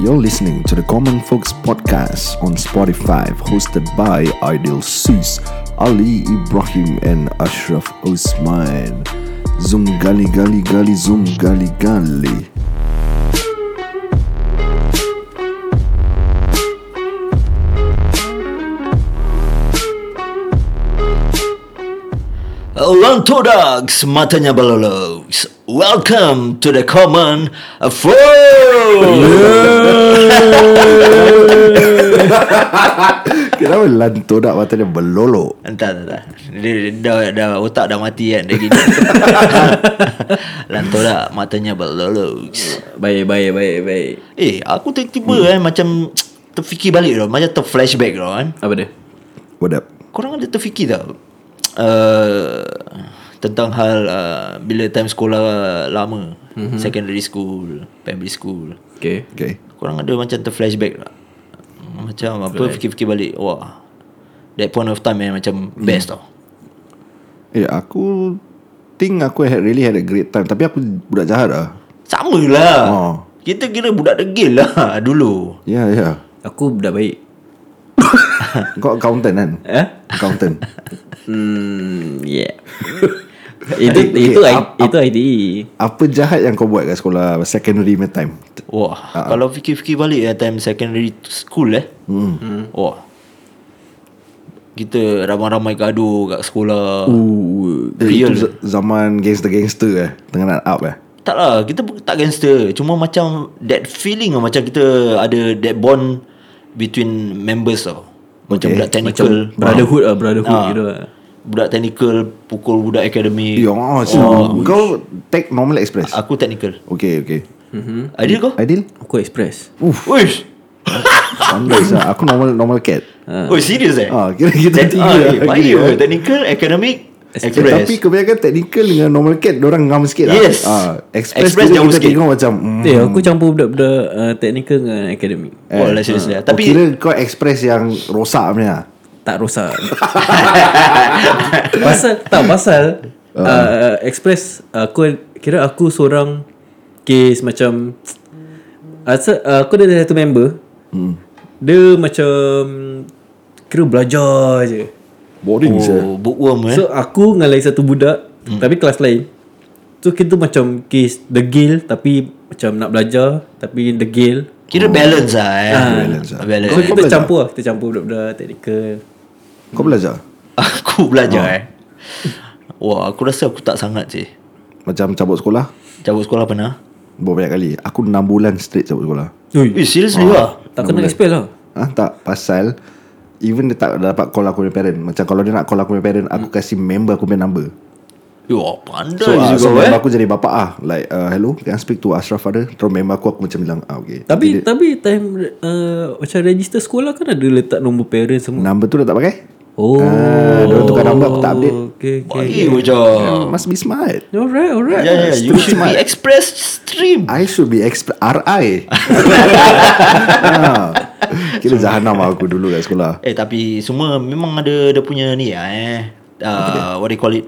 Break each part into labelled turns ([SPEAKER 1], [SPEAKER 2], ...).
[SPEAKER 1] You're listening to the Common Folks podcast on Spotify, hosted by Ideal Seuss, Ali Ibrahim, and Ashraf Osman. Zoom gali gali gali zoom gali gali.
[SPEAKER 2] Lantodogs, matanya balolos. Welcome to the common forum.
[SPEAKER 1] Kenapa lantodak mata dia berlolok?
[SPEAKER 2] Entah, entah, entah. Dia, dia, dah, dah, otak dah mati kan. Dia gini. Lantodak, matanya balolos.
[SPEAKER 3] Baik, baik, baik, baik.
[SPEAKER 2] Eh, aku tiba-tiba eh, macam terfikir balik tau. Macam terflashback tau kan.
[SPEAKER 3] Apa dia?
[SPEAKER 1] What up?
[SPEAKER 2] Korang ada terfikir tak? Uh, tentang hal uh, bila time sekolah lama. Mm-hmm. Secondary school, primary school.
[SPEAKER 3] Okay.
[SPEAKER 1] Okay.
[SPEAKER 2] Korang ada macam terflashback tak? Macam apa fikir-fikir balik Wah That point of time eh Macam best tau
[SPEAKER 1] Eh, aku think aku had really had a great time. Tapi aku budak jahat lah.
[SPEAKER 2] Sama lah
[SPEAKER 1] Oh.
[SPEAKER 2] Kita kira budak degil lah Dulu
[SPEAKER 1] Ya, yeah, ya. Yeah.
[SPEAKER 3] Aku dah baik.
[SPEAKER 1] Kau accountant kan?
[SPEAKER 3] Eh?
[SPEAKER 1] Accountant.
[SPEAKER 3] Hmm, yeah. itu
[SPEAKER 1] Okay,
[SPEAKER 3] itu I, E.
[SPEAKER 1] up,
[SPEAKER 3] itu ITE.
[SPEAKER 1] Apa jahat yang kau buat kat sekolah secondary punya time?
[SPEAKER 2] Wah uh-huh. Kalau fikir-fikir balik eh, Time secondary school eh hmm. Wah Kita ramai-ramai gaduh Kat sekolah
[SPEAKER 3] Uh,
[SPEAKER 1] Eh,
[SPEAKER 2] Real.
[SPEAKER 1] Itu z- zaman gangster-gangster eh Tengah nak up eh
[SPEAKER 2] Tak lah Kita bu- tak gangster Cuma macam That feeling lah, Macam kita Ada that bond Between members tau Macam
[SPEAKER 1] Okay.
[SPEAKER 2] budak technical
[SPEAKER 3] brotherhood ah, brotherhood
[SPEAKER 2] Ah.
[SPEAKER 3] gitu lah.
[SPEAKER 2] Budak teknikal Pukul budak akademik
[SPEAKER 1] Yo, oh, oh, Kau take normal express
[SPEAKER 2] Aku teknikal
[SPEAKER 1] Okay okay
[SPEAKER 3] Mm-hmm.
[SPEAKER 2] hmm? Adil kau?
[SPEAKER 1] Aidil
[SPEAKER 3] Aku express.
[SPEAKER 2] Uish
[SPEAKER 1] Pandai sah lah. Aku normal normal cat
[SPEAKER 2] Oh serius eh?
[SPEAKER 1] Ah, kira kita
[SPEAKER 2] Tek-
[SPEAKER 1] tiga
[SPEAKER 2] ah, eh,
[SPEAKER 1] lagi,
[SPEAKER 2] Bahaya
[SPEAKER 1] eh.
[SPEAKER 2] Teknikal, akademik
[SPEAKER 1] Eh,
[SPEAKER 2] Express
[SPEAKER 1] Tapi kebanyakan technical dengan normal cat Diorang ngam sikit lah
[SPEAKER 2] Yes.
[SPEAKER 1] ah, Express,
[SPEAKER 2] Express
[SPEAKER 1] express kita,
[SPEAKER 2] jauh
[SPEAKER 1] kita
[SPEAKER 2] sikit.
[SPEAKER 1] tengok macam mm,
[SPEAKER 3] Eh, aku campur budak-budak uh, teknikal dengan akademik.
[SPEAKER 2] Wah lah serius lah
[SPEAKER 1] Tapi
[SPEAKER 2] Tapi
[SPEAKER 1] Kira eh, ah, kau express yang rosak punya
[SPEAKER 3] Tak rosak. pasal tak pasal uh. Uh, express aku kira aku seorang case macam Asa, uh, aku ada satu member. Hmm. Dia macam kira belajar je.
[SPEAKER 1] Boring oh.
[SPEAKER 2] Oh, bookworm eh
[SPEAKER 3] So aku dengan lagi satu budak hmm. Tapi kelas lain So kita macam Case degil Tapi Macam nak belajar Tapi degil
[SPEAKER 2] Kira balance lah eh
[SPEAKER 1] Oh. balance lah.
[SPEAKER 2] Balance
[SPEAKER 3] So
[SPEAKER 2] eh.
[SPEAKER 3] kita campur lah Kita campur budak-budak Teknikal
[SPEAKER 1] Kau belajar
[SPEAKER 2] Aku belajar
[SPEAKER 1] Ah.
[SPEAKER 2] eh Wah aku rasa aku tak sangat sih
[SPEAKER 1] Macam cabut sekolah
[SPEAKER 2] Cabut sekolah pernah
[SPEAKER 1] Buat banyak kali Aku 6 bulan straight cabut sekolah
[SPEAKER 3] Ui,
[SPEAKER 2] Eh seriously lah
[SPEAKER 3] Tak kena expel lah
[SPEAKER 1] Ah tak pasal even dia tak dapat call aku punya parent. Macam kalau dia nak call aku punya parent, aku
[SPEAKER 3] Hmm.
[SPEAKER 1] kasi member aku punya number.
[SPEAKER 2] Yo
[SPEAKER 1] So,
[SPEAKER 2] pandai
[SPEAKER 1] ah,
[SPEAKER 2] je
[SPEAKER 1] so
[SPEAKER 2] kau eh
[SPEAKER 1] member aku jadi bapak ah. Like uh, hello, can I speak to Ashraf father? Terus member aku aku macam bilang, ah okay.
[SPEAKER 3] Tapi tapi time uh, Macam register sekolah kan Ada letak nombor parent semua
[SPEAKER 1] Number tu dah tak pakai?
[SPEAKER 3] Oh Oh.
[SPEAKER 1] Ah, dia tukar number aku tak update.
[SPEAKER 3] Okay, okay.
[SPEAKER 2] Baik macam
[SPEAKER 1] Must be smart.
[SPEAKER 3] Alright
[SPEAKER 1] Eh,
[SPEAKER 3] alright
[SPEAKER 2] Ya ya You should be express stream
[SPEAKER 1] I should be exp- RI. ah. Kira jahanam aku dulu kat sekolah.
[SPEAKER 2] Eh tapi semua memang ada dia punya ni lah eh. Uh, what do you call it?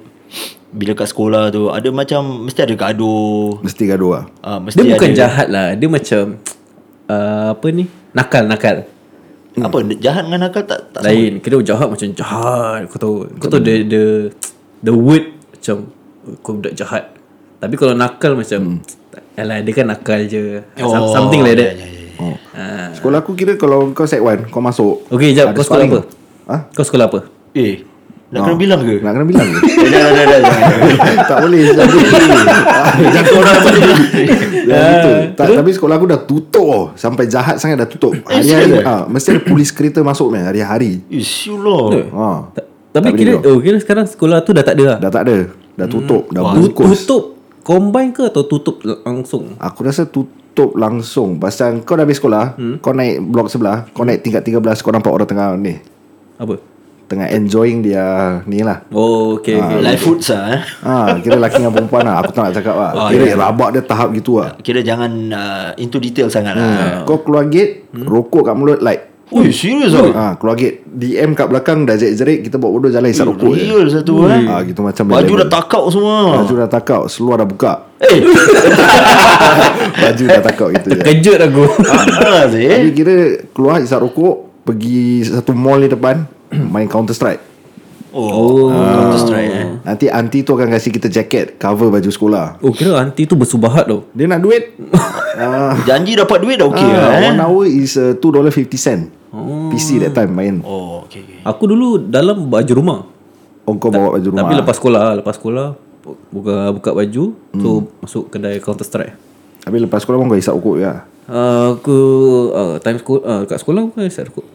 [SPEAKER 2] Bila kat sekolah tu ada macam mesti ada gaduh.
[SPEAKER 1] Mesti gaduh lah.
[SPEAKER 2] Uh, mesti
[SPEAKER 3] Dia bukan
[SPEAKER 2] ada,
[SPEAKER 3] jahat lah Dia macam uh, Apa ni Nakal-nakal
[SPEAKER 2] Apa jahat dengan nakal tak tak
[SPEAKER 3] Lain Kira jahat macam jahat Kau tahu Kau tahu the, the The word Macam Kau budak jahat Tapi kalau nakal macam hmm. Alah dia kan nakal je oh, Something like that
[SPEAKER 2] ya, ya, ya.
[SPEAKER 1] Oh. Sekolah aku kira kalau kau set 1, kau masuk.
[SPEAKER 3] Ah. Okay jap Kau sekolah
[SPEAKER 1] sparring.
[SPEAKER 3] apa
[SPEAKER 1] Ha?
[SPEAKER 3] Kau sekolah apa
[SPEAKER 2] Eh nak kena bilang ke?
[SPEAKER 1] Nak kena bilang ke?
[SPEAKER 2] Eh, dah dah dah dah. jangan.
[SPEAKER 1] tak boleh Jangan Jangan orang Jangan gitu tak, Tapi sekolah aku dah tutup oh. Sampai jahat sangat dah tutup Hari-hari
[SPEAKER 2] serious?
[SPEAKER 1] ha, Mesti ada polis kereta masuk man, Hari-hari
[SPEAKER 2] Ish you lah.
[SPEAKER 1] ha.
[SPEAKER 3] Ta- Tapi
[SPEAKER 1] boleh
[SPEAKER 3] kira
[SPEAKER 1] keluar.
[SPEAKER 3] oh, Kira sekarang sekolah tu dah tak ada lah
[SPEAKER 1] Dah tak ada Dah tutup Dah
[SPEAKER 3] Tu-
[SPEAKER 1] bungkus
[SPEAKER 3] Tutup Combine ke atau tutup langsung
[SPEAKER 1] Aku rasa tutup langsung Pasal kau dah habis sekolah Kau naik blok sebelah Kau naik tingkat 13 Kau nampak orang tengah ni
[SPEAKER 3] Apa
[SPEAKER 1] Tengah enjoying dia Ni lah
[SPEAKER 3] Oh okay, okay.
[SPEAKER 2] Life foods lah eh.
[SPEAKER 1] ha, Kira lelaki dengan perempuan lah Aku tak nak cakap lah Kira rabak dia tahap gitu lah
[SPEAKER 2] Kira jangan uh, into detail sangat lah.
[SPEAKER 1] Kau keluar gate Rokok kat mulut like
[SPEAKER 2] Ui serius lah.
[SPEAKER 1] Ah, keluar gate DM kat belakang Dah jerit-jerit Kita buat bodoh jalan Isap rokok je
[SPEAKER 2] Real satu eh.
[SPEAKER 1] Ah, gitu macam
[SPEAKER 2] Baju
[SPEAKER 1] level.
[SPEAKER 2] dah takau semua.
[SPEAKER 1] Baju dah takau Seluar dah buka
[SPEAKER 2] Eh
[SPEAKER 1] Baju Azmi dah takut gitu je
[SPEAKER 3] Terkejut aku
[SPEAKER 2] Ah,
[SPEAKER 1] Tapi
[SPEAKER 2] Zee.
[SPEAKER 1] kira keluar hisap rokok Pergi satu mall ni depan Main counter strike
[SPEAKER 2] Oh,
[SPEAKER 3] Ah.
[SPEAKER 2] Counter Strike eh.
[SPEAKER 1] Nanti aunty tu akan kasih kita jaket Cover baju sekolah
[SPEAKER 3] Oh kira aunty tu bersubahat tau
[SPEAKER 1] Dia nak duit uh,
[SPEAKER 2] Janji dapat duit dah okey lah
[SPEAKER 1] uh,
[SPEAKER 2] eh.
[SPEAKER 1] One hour is uh, $2.50 PC that time main
[SPEAKER 2] Oh, okey okey.
[SPEAKER 3] Aku dulu dalam baju rumah
[SPEAKER 1] Oh kau bawa baju rumah
[SPEAKER 3] Tapi lepas sekolah Lepas sekolah Buka buka baju Tu masuk kedai counter strike
[SPEAKER 1] Habis lepas sekolah pun kau hisap rokok ya.
[SPEAKER 3] uh, Aku uh, Time school uh, Kat sekolah aku kan rokok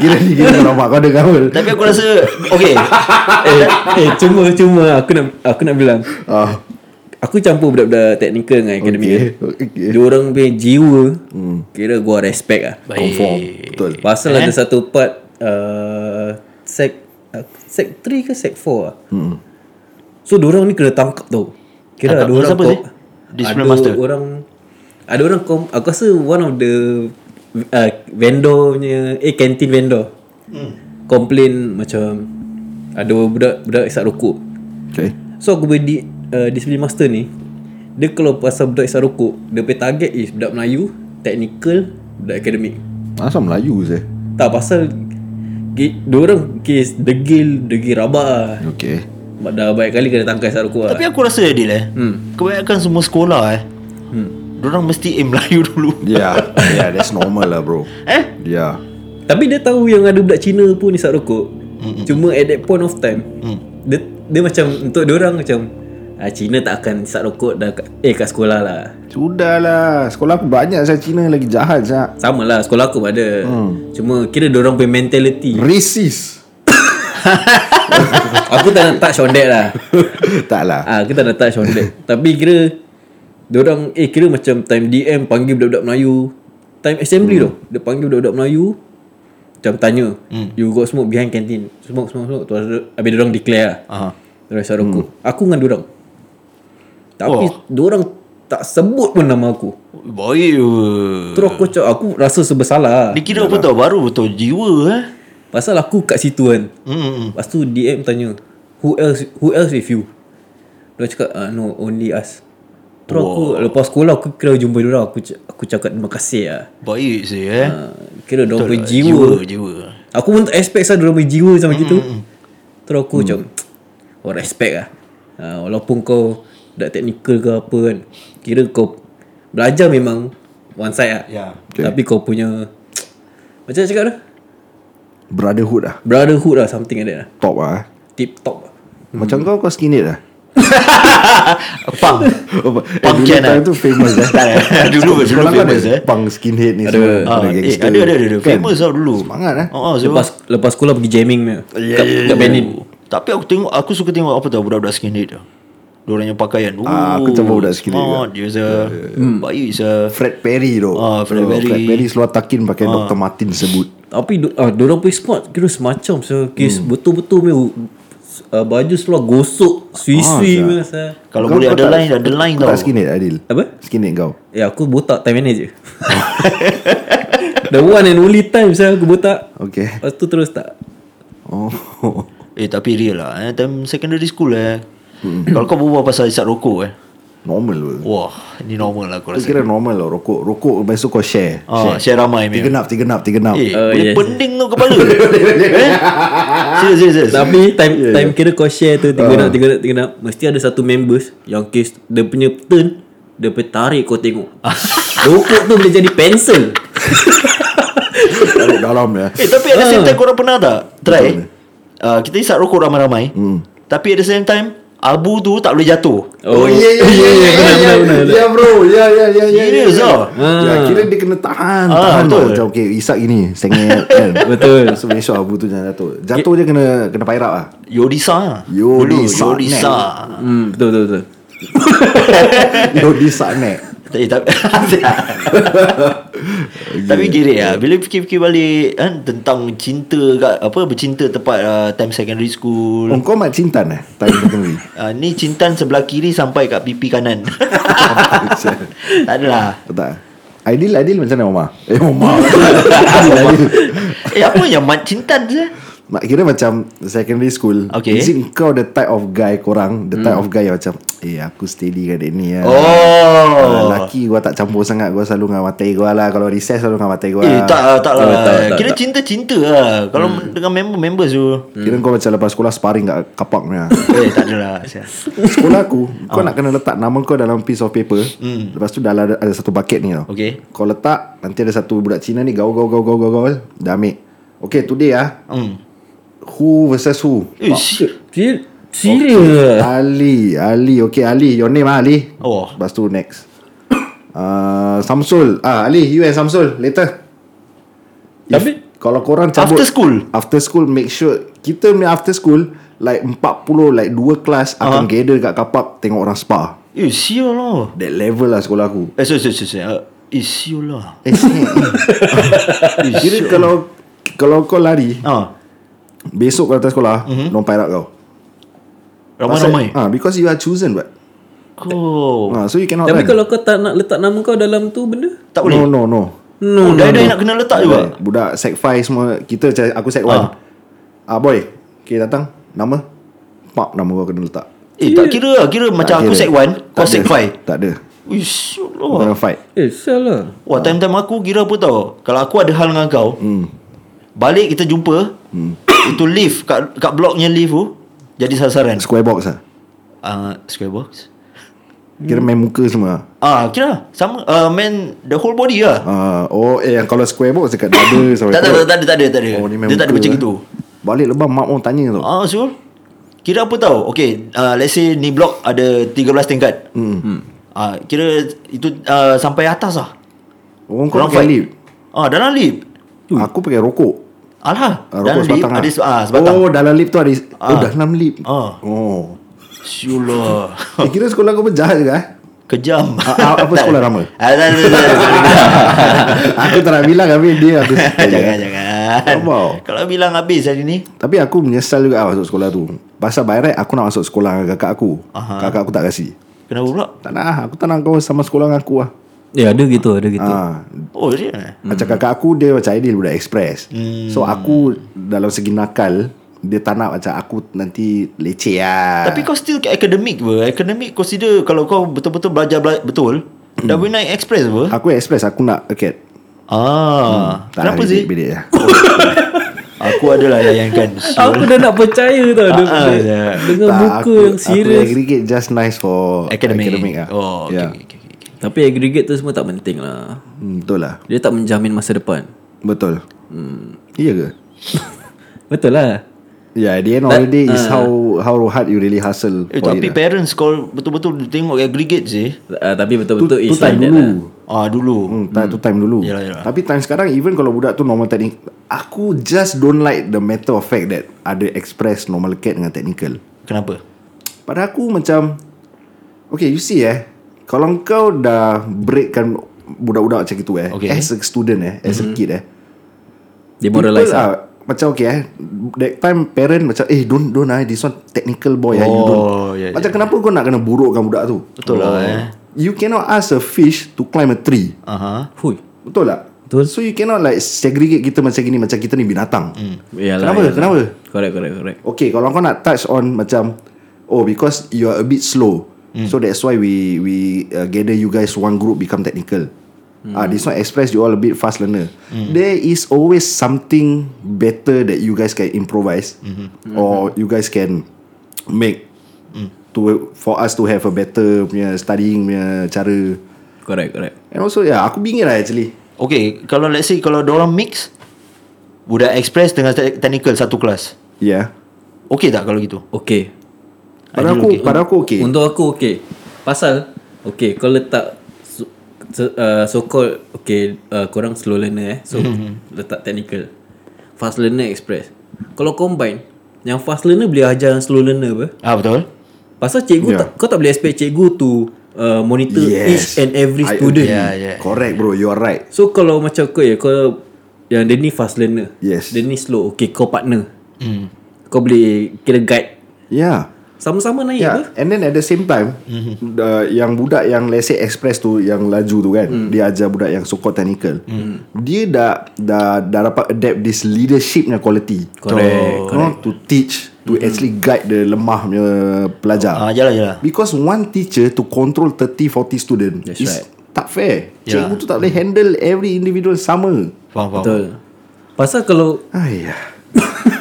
[SPEAKER 1] Gila ni gila nampak kau dengar pun
[SPEAKER 2] Tapi aku rasa okey.
[SPEAKER 3] eh, eh cuma cuma aku nak aku nak bilang
[SPEAKER 1] Ah,
[SPEAKER 3] Aku campur budak-budak teknikal dengan akademik okay. Hmm.
[SPEAKER 1] okay.
[SPEAKER 3] Dia orang punya jiwa Kira gua respect lah
[SPEAKER 1] Conform Betul
[SPEAKER 3] Pasal eh? ada satu part uh, Sec uh, Sec 3 ke sec 4 lah hmm. So diorang ni kena tangkap tau
[SPEAKER 2] Tangkap
[SPEAKER 3] Kira ada
[SPEAKER 2] dengan
[SPEAKER 3] orang
[SPEAKER 2] siapa
[SPEAKER 3] kau-
[SPEAKER 2] sih? Discipline
[SPEAKER 3] ada
[SPEAKER 2] master?
[SPEAKER 3] orang Ada orang kom, Aku rasa one of the uh, Vendor punya Eh canteen vendor hmm. Complain macam Ada budak-budak isap rokok
[SPEAKER 1] Okay
[SPEAKER 3] So aku beli uh, Discipline master ni Dia kalau pasal budak isap rokok Dia punya target is Budak Melayu Technical Budak akademik
[SPEAKER 1] Asal Melayu je
[SPEAKER 3] tak pasal ge- Diorang kes degil Degil rabak lah
[SPEAKER 1] Okay
[SPEAKER 3] Mak Dah banyak kali kena tangkai Saruku lah
[SPEAKER 2] Tapi aku rasa adil eh. Kebanyakan semua sekolah eh. Diorang mesti aim Melayu dulu.
[SPEAKER 1] Yeah
[SPEAKER 2] ya,
[SPEAKER 1] Yeah that's normal lah bro
[SPEAKER 2] Eh?
[SPEAKER 1] Yeah
[SPEAKER 3] Tapi dia tahu yang ada budak Cina pun isap rokok Cuma at that point of time Dia dia macam Untuk diorang macam ah, Cina tak akan isap rokok dah kat, Eh kat sekolah lah
[SPEAKER 1] Sudahlah Sekolah aku banyak saya Cina lagi jahat saya
[SPEAKER 3] Sama lah sekolah aku pun ada Cuma kira diorang punya mentality
[SPEAKER 1] Racist
[SPEAKER 3] Aku tak nak touch on that lah
[SPEAKER 1] Tak lah
[SPEAKER 3] Ah, kita dah touch on that. Tapi kira orang eh kira macam time DM panggil budak-budak Melayu, time assembly hmm. tau. Dia panggil budak-budak Melayu macam tanya, hmm. you got smoke behind canteen. Smoke smoke smoke. Tu ada- habis orang declare lah.
[SPEAKER 2] Aha.
[SPEAKER 3] Dia rasa rokok. Aku dengan orang. Tapi
[SPEAKER 2] Wah.
[SPEAKER 3] Hmm. oh. orang tak sebut pun nama aku.
[SPEAKER 2] Boy.
[SPEAKER 3] Terus aku cakap aku rasa sebersalah.
[SPEAKER 2] Dia kira apa tau baru betul jiwa eh.
[SPEAKER 3] Pasal aku kat situ kan. Hmm. Lepas tu DM tanya, who else who else with you? Dia cakap, ah, no, only us. Terus aku lepas sekolah aku kira jumpa dia aku c- aku cakap terima kasih lah.
[SPEAKER 2] Baik sih eh.
[SPEAKER 3] Ah, kira dia punya jiwa.
[SPEAKER 2] lah, Jiwa, jiwa.
[SPEAKER 3] Aku pun tak expect sah dia punya jiwa sama gitu. Terus
[SPEAKER 2] Mm.
[SPEAKER 3] aku macam oh respect lah. Ah, walaupun kau dah technical ke apa kan. Kira kau belajar memang one side lah.
[SPEAKER 2] Ya.
[SPEAKER 1] Okay.
[SPEAKER 3] Tapi kau punya macam nak cakap tu?
[SPEAKER 1] Brotherhood lah
[SPEAKER 3] Brotherhood lah something like that lah.
[SPEAKER 1] Top lah eh.
[SPEAKER 3] Tip top
[SPEAKER 1] Macam kau kau skinhead lah
[SPEAKER 2] Pang.
[SPEAKER 1] Oh, eh, dulu
[SPEAKER 2] Punk can,
[SPEAKER 1] time
[SPEAKER 2] eh?
[SPEAKER 1] tu famous eh.
[SPEAKER 2] Tak, eh? Dulu- dulu
[SPEAKER 1] Sekolah kau ada
[SPEAKER 2] famous, eh?
[SPEAKER 1] Punk skinhead ni
[SPEAKER 3] Ada.
[SPEAKER 1] semua
[SPEAKER 2] Ah, eh,
[SPEAKER 1] gangster.
[SPEAKER 2] ada ada ada, ada.
[SPEAKER 1] Kan?
[SPEAKER 2] Famous lah. tau dulu.
[SPEAKER 1] Semangat, eh?
[SPEAKER 2] Oh, oh sebab
[SPEAKER 3] Lepas lepas sekolah pergi jamming punya.
[SPEAKER 2] Oh,
[SPEAKER 3] Yeah, kat, yeah, kat Benin.
[SPEAKER 2] Tapi aku tengok aku suka tengok apa tau budak-budak skinhead tau. Diorang yang pakaian.
[SPEAKER 1] Ah, aku jumpa budak skinhead
[SPEAKER 2] Oh, dia is a
[SPEAKER 3] Hmm.
[SPEAKER 2] baik is a
[SPEAKER 1] Fred Perry tu
[SPEAKER 2] Ah, Fred
[SPEAKER 1] Oh, Fred
[SPEAKER 2] Perry. Ah.
[SPEAKER 1] Perry selalu takin pakai Dr. Martin sebut
[SPEAKER 3] Tapi do- ah orang punya sport kira semacam so kes hmm. betul-betul punya uh, baju seluar gosok sui-sui punya saya.
[SPEAKER 2] Kalau
[SPEAKER 1] Kau-
[SPEAKER 2] boleh
[SPEAKER 1] kau
[SPEAKER 2] ada
[SPEAKER 1] tak-
[SPEAKER 2] line ada line
[SPEAKER 1] Kau
[SPEAKER 2] tau.
[SPEAKER 1] tak skinhead Adil
[SPEAKER 3] Apa?
[SPEAKER 1] Skinhead kau
[SPEAKER 3] Eh aku botak time manager. The one and only time saya aku botak.
[SPEAKER 1] Okay
[SPEAKER 3] Lepas tu terus tak.
[SPEAKER 1] Oh
[SPEAKER 2] Eh tapi real lah eh. Time secondary school eh
[SPEAKER 1] Hmm.
[SPEAKER 2] Kalau kau berbual pasal isap rokok eh
[SPEAKER 1] Normal pun
[SPEAKER 2] Wah Ni normal lah
[SPEAKER 1] Kau
[SPEAKER 2] aku rasa
[SPEAKER 1] kira normal lah rokok Rokok lepas tu kau share
[SPEAKER 2] Ah, share ramai
[SPEAKER 1] Tiga nap
[SPEAKER 2] memang.
[SPEAKER 1] Tiga nap Tiga nap
[SPEAKER 2] Eh
[SPEAKER 3] Oh,
[SPEAKER 2] boleh
[SPEAKER 3] yes.
[SPEAKER 2] pening tu kepala Eh Serius serius serius
[SPEAKER 3] Tapi time time kira kau share tu tiga nak tiga nak tiga nak mesti ada satu members yang kes dia punya turn dia punya tarik kau tengok. Rokok tu boleh jadi pensel.
[SPEAKER 1] Tarik dalam ya
[SPEAKER 2] Eh tapi at the
[SPEAKER 3] Ah.
[SPEAKER 2] same time korang pernah tak Try Ah, Kita isap rokok ramai-ramai
[SPEAKER 1] Hmm.
[SPEAKER 2] Tapi at the same time Abu tu tak boleh jatuh
[SPEAKER 1] Oh ya ya ya ya
[SPEAKER 3] benar,
[SPEAKER 1] ya,
[SPEAKER 3] benar,
[SPEAKER 1] ya ya bro ya ya ya ya
[SPEAKER 2] Serius
[SPEAKER 1] ya,
[SPEAKER 2] tau?
[SPEAKER 1] ya. Ya kira dia kena tahan
[SPEAKER 2] Ah,
[SPEAKER 1] tahan
[SPEAKER 2] betul.
[SPEAKER 1] tau macam okay isak gini sengit kan
[SPEAKER 3] Betul.
[SPEAKER 1] so besok abu tu jangan jatuh jatuh je kena kena pairap lah Yodisa.
[SPEAKER 2] Yodisa Dulu, Yodisa
[SPEAKER 3] Hmm, betul betul betul.
[SPEAKER 1] yo disak nek
[SPEAKER 2] Eh, tapi Tapi kira ya Bila fikir-fikir balik kan, Tentang cinta kat, Apa Bercinta tempat uh, Time secondary school
[SPEAKER 1] oh, kau mat cintan eh time secondary
[SPEAKER 2] uh, Ni cintan sebelah kiri Sampai kat pipi kanan Tak adalah
[SPEAKER 1] tak Aidil Aidil macam mana Omar eh Omar
[SPEAKER 2] Eh apa yang mat cintan je
[SPEAKER 1] Mak kira macam secondary school
[SPEAKER 2] Okay. Hmm.
[SPEAKER 1] Is it kau the type of guy korang The type of guy yang macam Eh aku steady kat dia ni lah Ah,
[SPEAKER 2] Oh.
[SPEAKER 1] Laki gua tak campur sangat Gua selalu dengan matai gua lah Kalau recess selalu dengan matai gua
[SPEAKER 2] Eh tak lah, tak
[SPEAKER 3] Oh, tak,
[SPEAKER 2] lah.
[SPEAKER 3] tak,
[SPEAKER 2] Kira
[SPEAKER 3] tak.
[SPEAKER 2] cinta-cinta lah. Kalau dengan member-member tu.
[SPEAKER 1] Kira kau macam lepas sekolah Sparring kat kapak ni lah
[SPEAKER 2] Eh tak adalah.
[SPEAKER 1] Sekolah aku
[SPEAKER 2] Oh.
[SPEAKER 1] Kau nak kena letak Nama kau dalam piece of paper Lepas tu dalam ada, ada satu bucket ni tau
[SPEAKER 2] Hmm. Okay.
[SPEAKER 1] Kau letak Nanti ada satu budak Cina ni Gaul gaul gaul gaul gaul gaul Dah ambil Okay today ah
[SPEAKER 2] Hmm.
[SPEAKER 1] Who versus who
[SPEAKER 2] Ish.
[SPEAKER 3] Serius
[SPEAKER 1] Ah,
[SPEAKER 3] Serius Ah,
[SPEAKER 1] Ali Ali Okay Ali Your name ah Ali
[SPEAKER 2] Oh.
[SPEAKER 1] Lepas tu next uh, Samsul ah Ali you and Samsul Later If-
[SPEAKER 3] Tapi-
[SPEAKER 1] Kalau korang cabut
[SPEAKER 2] After school.
[SPEAKER 1] After school make sure Kita punya after school Like 40 Like 2 kelas uh-huh. Akan gather kat kapak Tengok orang spa
[SPEAKER 2] Eh siul lah.
[SPEAKER 1] That level lah sekolah aku
[SPEAKER 2] Eh so so so. so. Uh, Eh siul lah.
[SPEAKER 1] Eh sial.
[SPEAKER 2] Eh,
[SPEAKER 1] Kira
[SPEAKER 2] siul.
[SPEAKER 1] kalau Kalau kau lari
[SPEAKER 2] Ah.
[SPEAKER 1] Besok kau datang sekolah mm-hmm. Orang pairat kau
[SPEAKER 2] Mhm. Ramai-ramai. Oh.
[SPEAKER 1] ha, Because you are chosen but
[SPEAKER 2] Kau.
[SPEAKER 1] ha, So you cannot
[SPEAKER 3] Tapi
[SPEAKER 1] run.
[SPEAKER 3] kalau kau tak nak letak nama kau dalam tu benda
[SPEAKER 2] Tak boleh.
[SPEAKER 1] No no no
[SPEAKER 2] No, dah dah nak kena letak
[SPEAKER 1] Budak-
[SPEAKER 2] juga.
[SPEAKER 1] Budak sec 5 semua Kita macam- aku sec 1 ah. boy Okay datang Nama Pak nama kau kena letak
[SPEAKER 2] Eh tak kira lah. Kira macam aku
[SPEAKER 1] kira.
[SPEAKER 2] sec
[SPEAKER 1] Tak
[SPEAKER 2] 1, kau sec
[SPEAKER 1] ada.
[SPEAKER 2] 5.
[SPEAKER 1] Tak ada
[SPEAKER 2] Ish
[SPEAKER 1] Kau
[SPEAKER 2] lah.
[SPEAKER 1] kena fight
[SPEAKER 3] Eh salah
[SPEAKER 2] Wah, time-time aku kira apa tau. Kalau aku ada hal dengan kau,
[SPEAKER 1] Hmm.
[SPEAKER 2] balik kita jumpa, itu lift, kat, kat bloknya lift tu, jadi sasaran.
[SPEAKER 1] Square box lah
[SPEAKER 2] Uh, square box.
[SPEAKER 1] Kira
[SPEAKER 2] Hmm.
[SPEAKER 1] main muka semua
[SPEAKER 2] Ah, kira lah. sama. Uh, man, the whole body lah.
[SPEAKER 1] Ah, Oh eh yang kalau square box Dekat dada sampai
[SPEAKER 2] tak, tak,
[SPEAKER 1] perut.
[SPEAKER 2] tak, tak, ada, tak ada, tak ada.
[SPEAKER 1] Oh, ni main
[SPEAKER 2] Dia tak ada
[SPEAKER 1] muka,
[SPEAKER 2] macam
[SPEAKER 1] eh.
[SPEAKER 2] itu.
[SPEAKER 1] Balik lebam mak orang tanya tu
[SPEAKER 2] Ah, so, kira apa tau. Okay, uh, let's say ni blok ada 13 tingkat. Hmm. Ah, kira itu uh, sampai atas lah.
[SPEAKER 1] Orang kau pakai lip
[SPEAKER 2] Ah, dalam lip.
[SPEAKER 1] Aku pakai rokok
[SPEAKER 2] Alah,
[SPEAKER 1] Ah, Rokok
[SPEAKER 2] dalam lip
[SPEAKER 1] sebatang
[SPEAKER 2] ada
[SPEAKER 1] lah.
[SPEAKER 2] se- ah, sebatang.
[SPEAKER 1] Oh dalam lip tu ada Oh
[SPEAKER 2] Ah.
[SPEAKER 1] dalam lip
[SPEAKER 2] Ah.
[SPEAKER 1] Oh
[SPEAKER 2] Syulah
[SPEAKER 1] Eh, Kira sekolah kau pun jahat juga eh
[SPEAKER 2] Kejam
[SPEAKER 1] Ah, ah, apa
[SPEAKER 2] Tak.
[SPEAKER 1] sekolah nama?
[SPEAKER 2] Ah, tak, tak, tak, tak.
[SPEAKER 1] Aku tak nak bilang Habis dia aku
[SPEAKER 2] Jangan jangan
[SPEAKER 1] Ya, Wow.
[SPEAKER 2] Kalau bilang habis hari ni
[SPEAKER 1] Tapi aku menyesal juga lah masuk sekolah tu Pasal by right aku nak masuk sekolah dengan kakak aku
[SPEAKER 2] Aha.
[SPEAKER 1] Kakak aku tak kasi
[SPEAKER 2] Kenapa pula
[SPEAKER 1] Tak nak lah, aku tak nak kau sama sekolah dengan aku lah
[SPEAKER 3] Ya ada gitu Ada gitu
[SPEAKER 1] ha.
[SPEAKER 2] Oh dia
[SPEAKER 1] Macam kakak aku dia macam ideal budak express hmm. So aku dalam segi nakal Dia tak nak macam aku nanti leceh lah
[SPEAKER 2] Tapi kau still academic ber. Academic consider Kalau kau betul-betul belajar, bela- Betul
[SPEAKER 1] Hmm.
[SPEAKER 2] Dah boleh naik express ber.
[SPEAKER 1] Aku express aku nak okay.
[SPEAKER 2] Ah,
[SPEAKER 1] Tak
[SPEAKER 2] Kenapa
[SPEAKER 1] nak
[SPEAKER 2] sih
[SPEAKER 1] bidik-bidik lah
[SPEAKER 2] Aku adalah layankan
[SPEAKER 3] Aku dah nak percaya tau dia,
[SPEAKER 2] Ah,
[SPEAKER 3] dia-
[SPEAKER 2] ya.
[SPEAKER 3] Dengan
[SPEAKER 1] Tak,
[SPEAKER 3] muka
[SPEAKER 1] aku-
[SPEAKER 3] yang
[SPEAKER 1] Aku
[SPEAKER 3] serius
[SPEAKER 1] aggregate just nice for
[SPEAKER 2] Academic,
[SPEAKER 1] academic lah
[SPEAKER 2] Oh okay,
[SPEAKER 1] yeah.
[SPEAKER 2] okay, okay, okay.
[SPEAKER 3] Tapi aggregate tu semua tak penting lah
[SPEAKER 1] Hmm, Betul lah
[SPEAKER 3] Dia tak menjamin masa depan
[SPEAKER 1] Betul hmm. Iya ke?
[SPEAKER 3] Betul lah
[SPEAKER 1] Yeah, at the end of the day is how how hard you really hustle
[SPEAKER 2] uh, Eh,
[SPEAKER 1] for it. lah.
[SPEAKER 2] tapi parents kau betul-betul tengok aggregate sih.
[SPEAKER 3] uh, Tapi
[SPEAKER 2] eh,
[SPEAKER 3] betul-betul
[SPEAKER 1] tu
[SPEAKER 3] is
[SPEAKER 1] time
[SPEAKER 3] like that
[SPEAKER 1] dulu
[SPEAKER 3] lah
[SPEAKER 2] Ah dulu.
[SPEAKER 1] hmm, time, tu time dulu
[SPEAKER 2] Yalah, yalah.
[SPEAKER 1] Tapi time sekarang Even kalau budak tu normal teknik Aku just don't like The matter of fact that Ada express normal cat Dengan technical
[SPEAKER 2] Kenapa?
[SPEAKER 1] Pada aku macam Okay you see eh Kalau kau dah Breakkan Budak-budak macam itu eh
[SPEAKER 2] Okay. Mm-hmm.
[SPEAKER 1] As a student eh As a kid eh
[SPEAKER 2] ah.
[SPEAKER 3] Demoralize
[SPEAKER 1] People
[SPEAKER 3] lah
[SPEAKER 1] are, Macam okay eh That time parent macam Eh don't don't eh This one technical boy eh You don't
[SPEAKER 2] Oh, yeah,
[SPEAKER 1] Macam kenapa kau nak kena burukkan budak tu
[SPEAKER 2] Betul lah, eh.
[SPEAKER 1] You cannot ask a fish To climb a tree
[SPEAKER 2] Aha. Uh-huh.
[SPEAKER 1] lah.
[SPEAKER 3] Hui
[SPEAKER 1] Betul tak?
[SPEAKER 3] Betul.
[SPEAKER 1] So you cannot like Segregate kita macam gini Macam kita ni binatang
[SPEAKER 2] Hmm.
[SPEAKER 3] Yalah,
[SPEAKER 1] Kenapa?
[SPEAKER 3] yalah.
[SPEAKER 1] Kenapa?
[SPEAKER 3] Correct correct correct
[SPEAKER 1] Okay kalau kau nak touch on Macam Oh because you are a bit slow
[SPEAKER 3] Hmm.
[SPEAKER 1] So that's why we we uh, gather you guys one group become technical.
[SPEAKER 3] Hmm.
[SPEAKER 1] Ah, this one express you all a bit fast learner. There is always something better that you guys can improvise
[SPEAKER 3] Hmm.
[SPEAKER 1] or you guys can make to for us to have a better punya studying punya cara.
[SPEAKER 3] Correct correct
[SPEAKER 1] And also yeah, aku bingit lah actually.
[SPEAKER 2] Okay, kalau let's say kalau orang mix budak express dengan te- technical satu kelas.
[SPEAKER 1] Yeah.
[SPEAKER 2] Okay tak kalau gitu?
[SPEAKER 3] Okay
[SPEAKER 1] Pada aku okay. pada aku okay.
[SPEAKER 3] Untuk aku okay Pasal Okay kau letak So, so- uh, so called Okay uh, Korang slow learner eh So letak technical Fast learner express Kalau combine Yang fast learner boleh ajar yang slow learner apa
[SPEAKER 2] Ah betul.
[SPEAKER 3] Pasal cikgu
[SPEAKER 1] Yeah.
[SPEAKER 3] yeah. tak, Kau tak boleh expect cikgu to uh, Monitor yes. each and every
[SPEAKER 1] I
[SPEAKER 3] student
[SPEAKER 1] agree.
[SPEAKER 2] Yeah, yeah.
[SPEAKER 1] Correct bro, you are right.
[SPEAKER 3] So kalau macam kau ya Kau Yang dia ni fast learner
[SPEAKER 1] Yes.
[SPEAKER 3] Dia ni slow Okay kau partner mm. Kau boleh Kira guide
[SPEAKER 1] Yeah.
[SPEAKER 3] Sama-sama naik yeah.
[SPEAKER 1] Yeah, Ya, and then at the same time, mm-hmm. uh, yang budak yang let's say express tu yang laju tu kan, mm. dia ajar budak yang so-called technical. Mm. Dia dah dah dah dapat adapt this leadership punya quality. You
[SPEAKER 3] Correct,
[SPEAKER 1] know, to teach to mm. actually guide the lemah punya pelajar.
[SPEAKER 2] Ah, jalan jalan.
[SPEAKER 1] Because one teacher to control 30 40 student
[SPEAKER 3] That's
[SPEAKER 1] is
[SPEAKER 3] right.
[SPEAKER 1] tak fair.
[SPEAKER 2] Yeah.
[SPEAKER 1] Cikgu tu tak boleh handle every individual sama.
[SPEAKER 2] Faham faham.
[SPEAKER 3] Betul Pasal kalau
[SPEAKER 1] Ayah.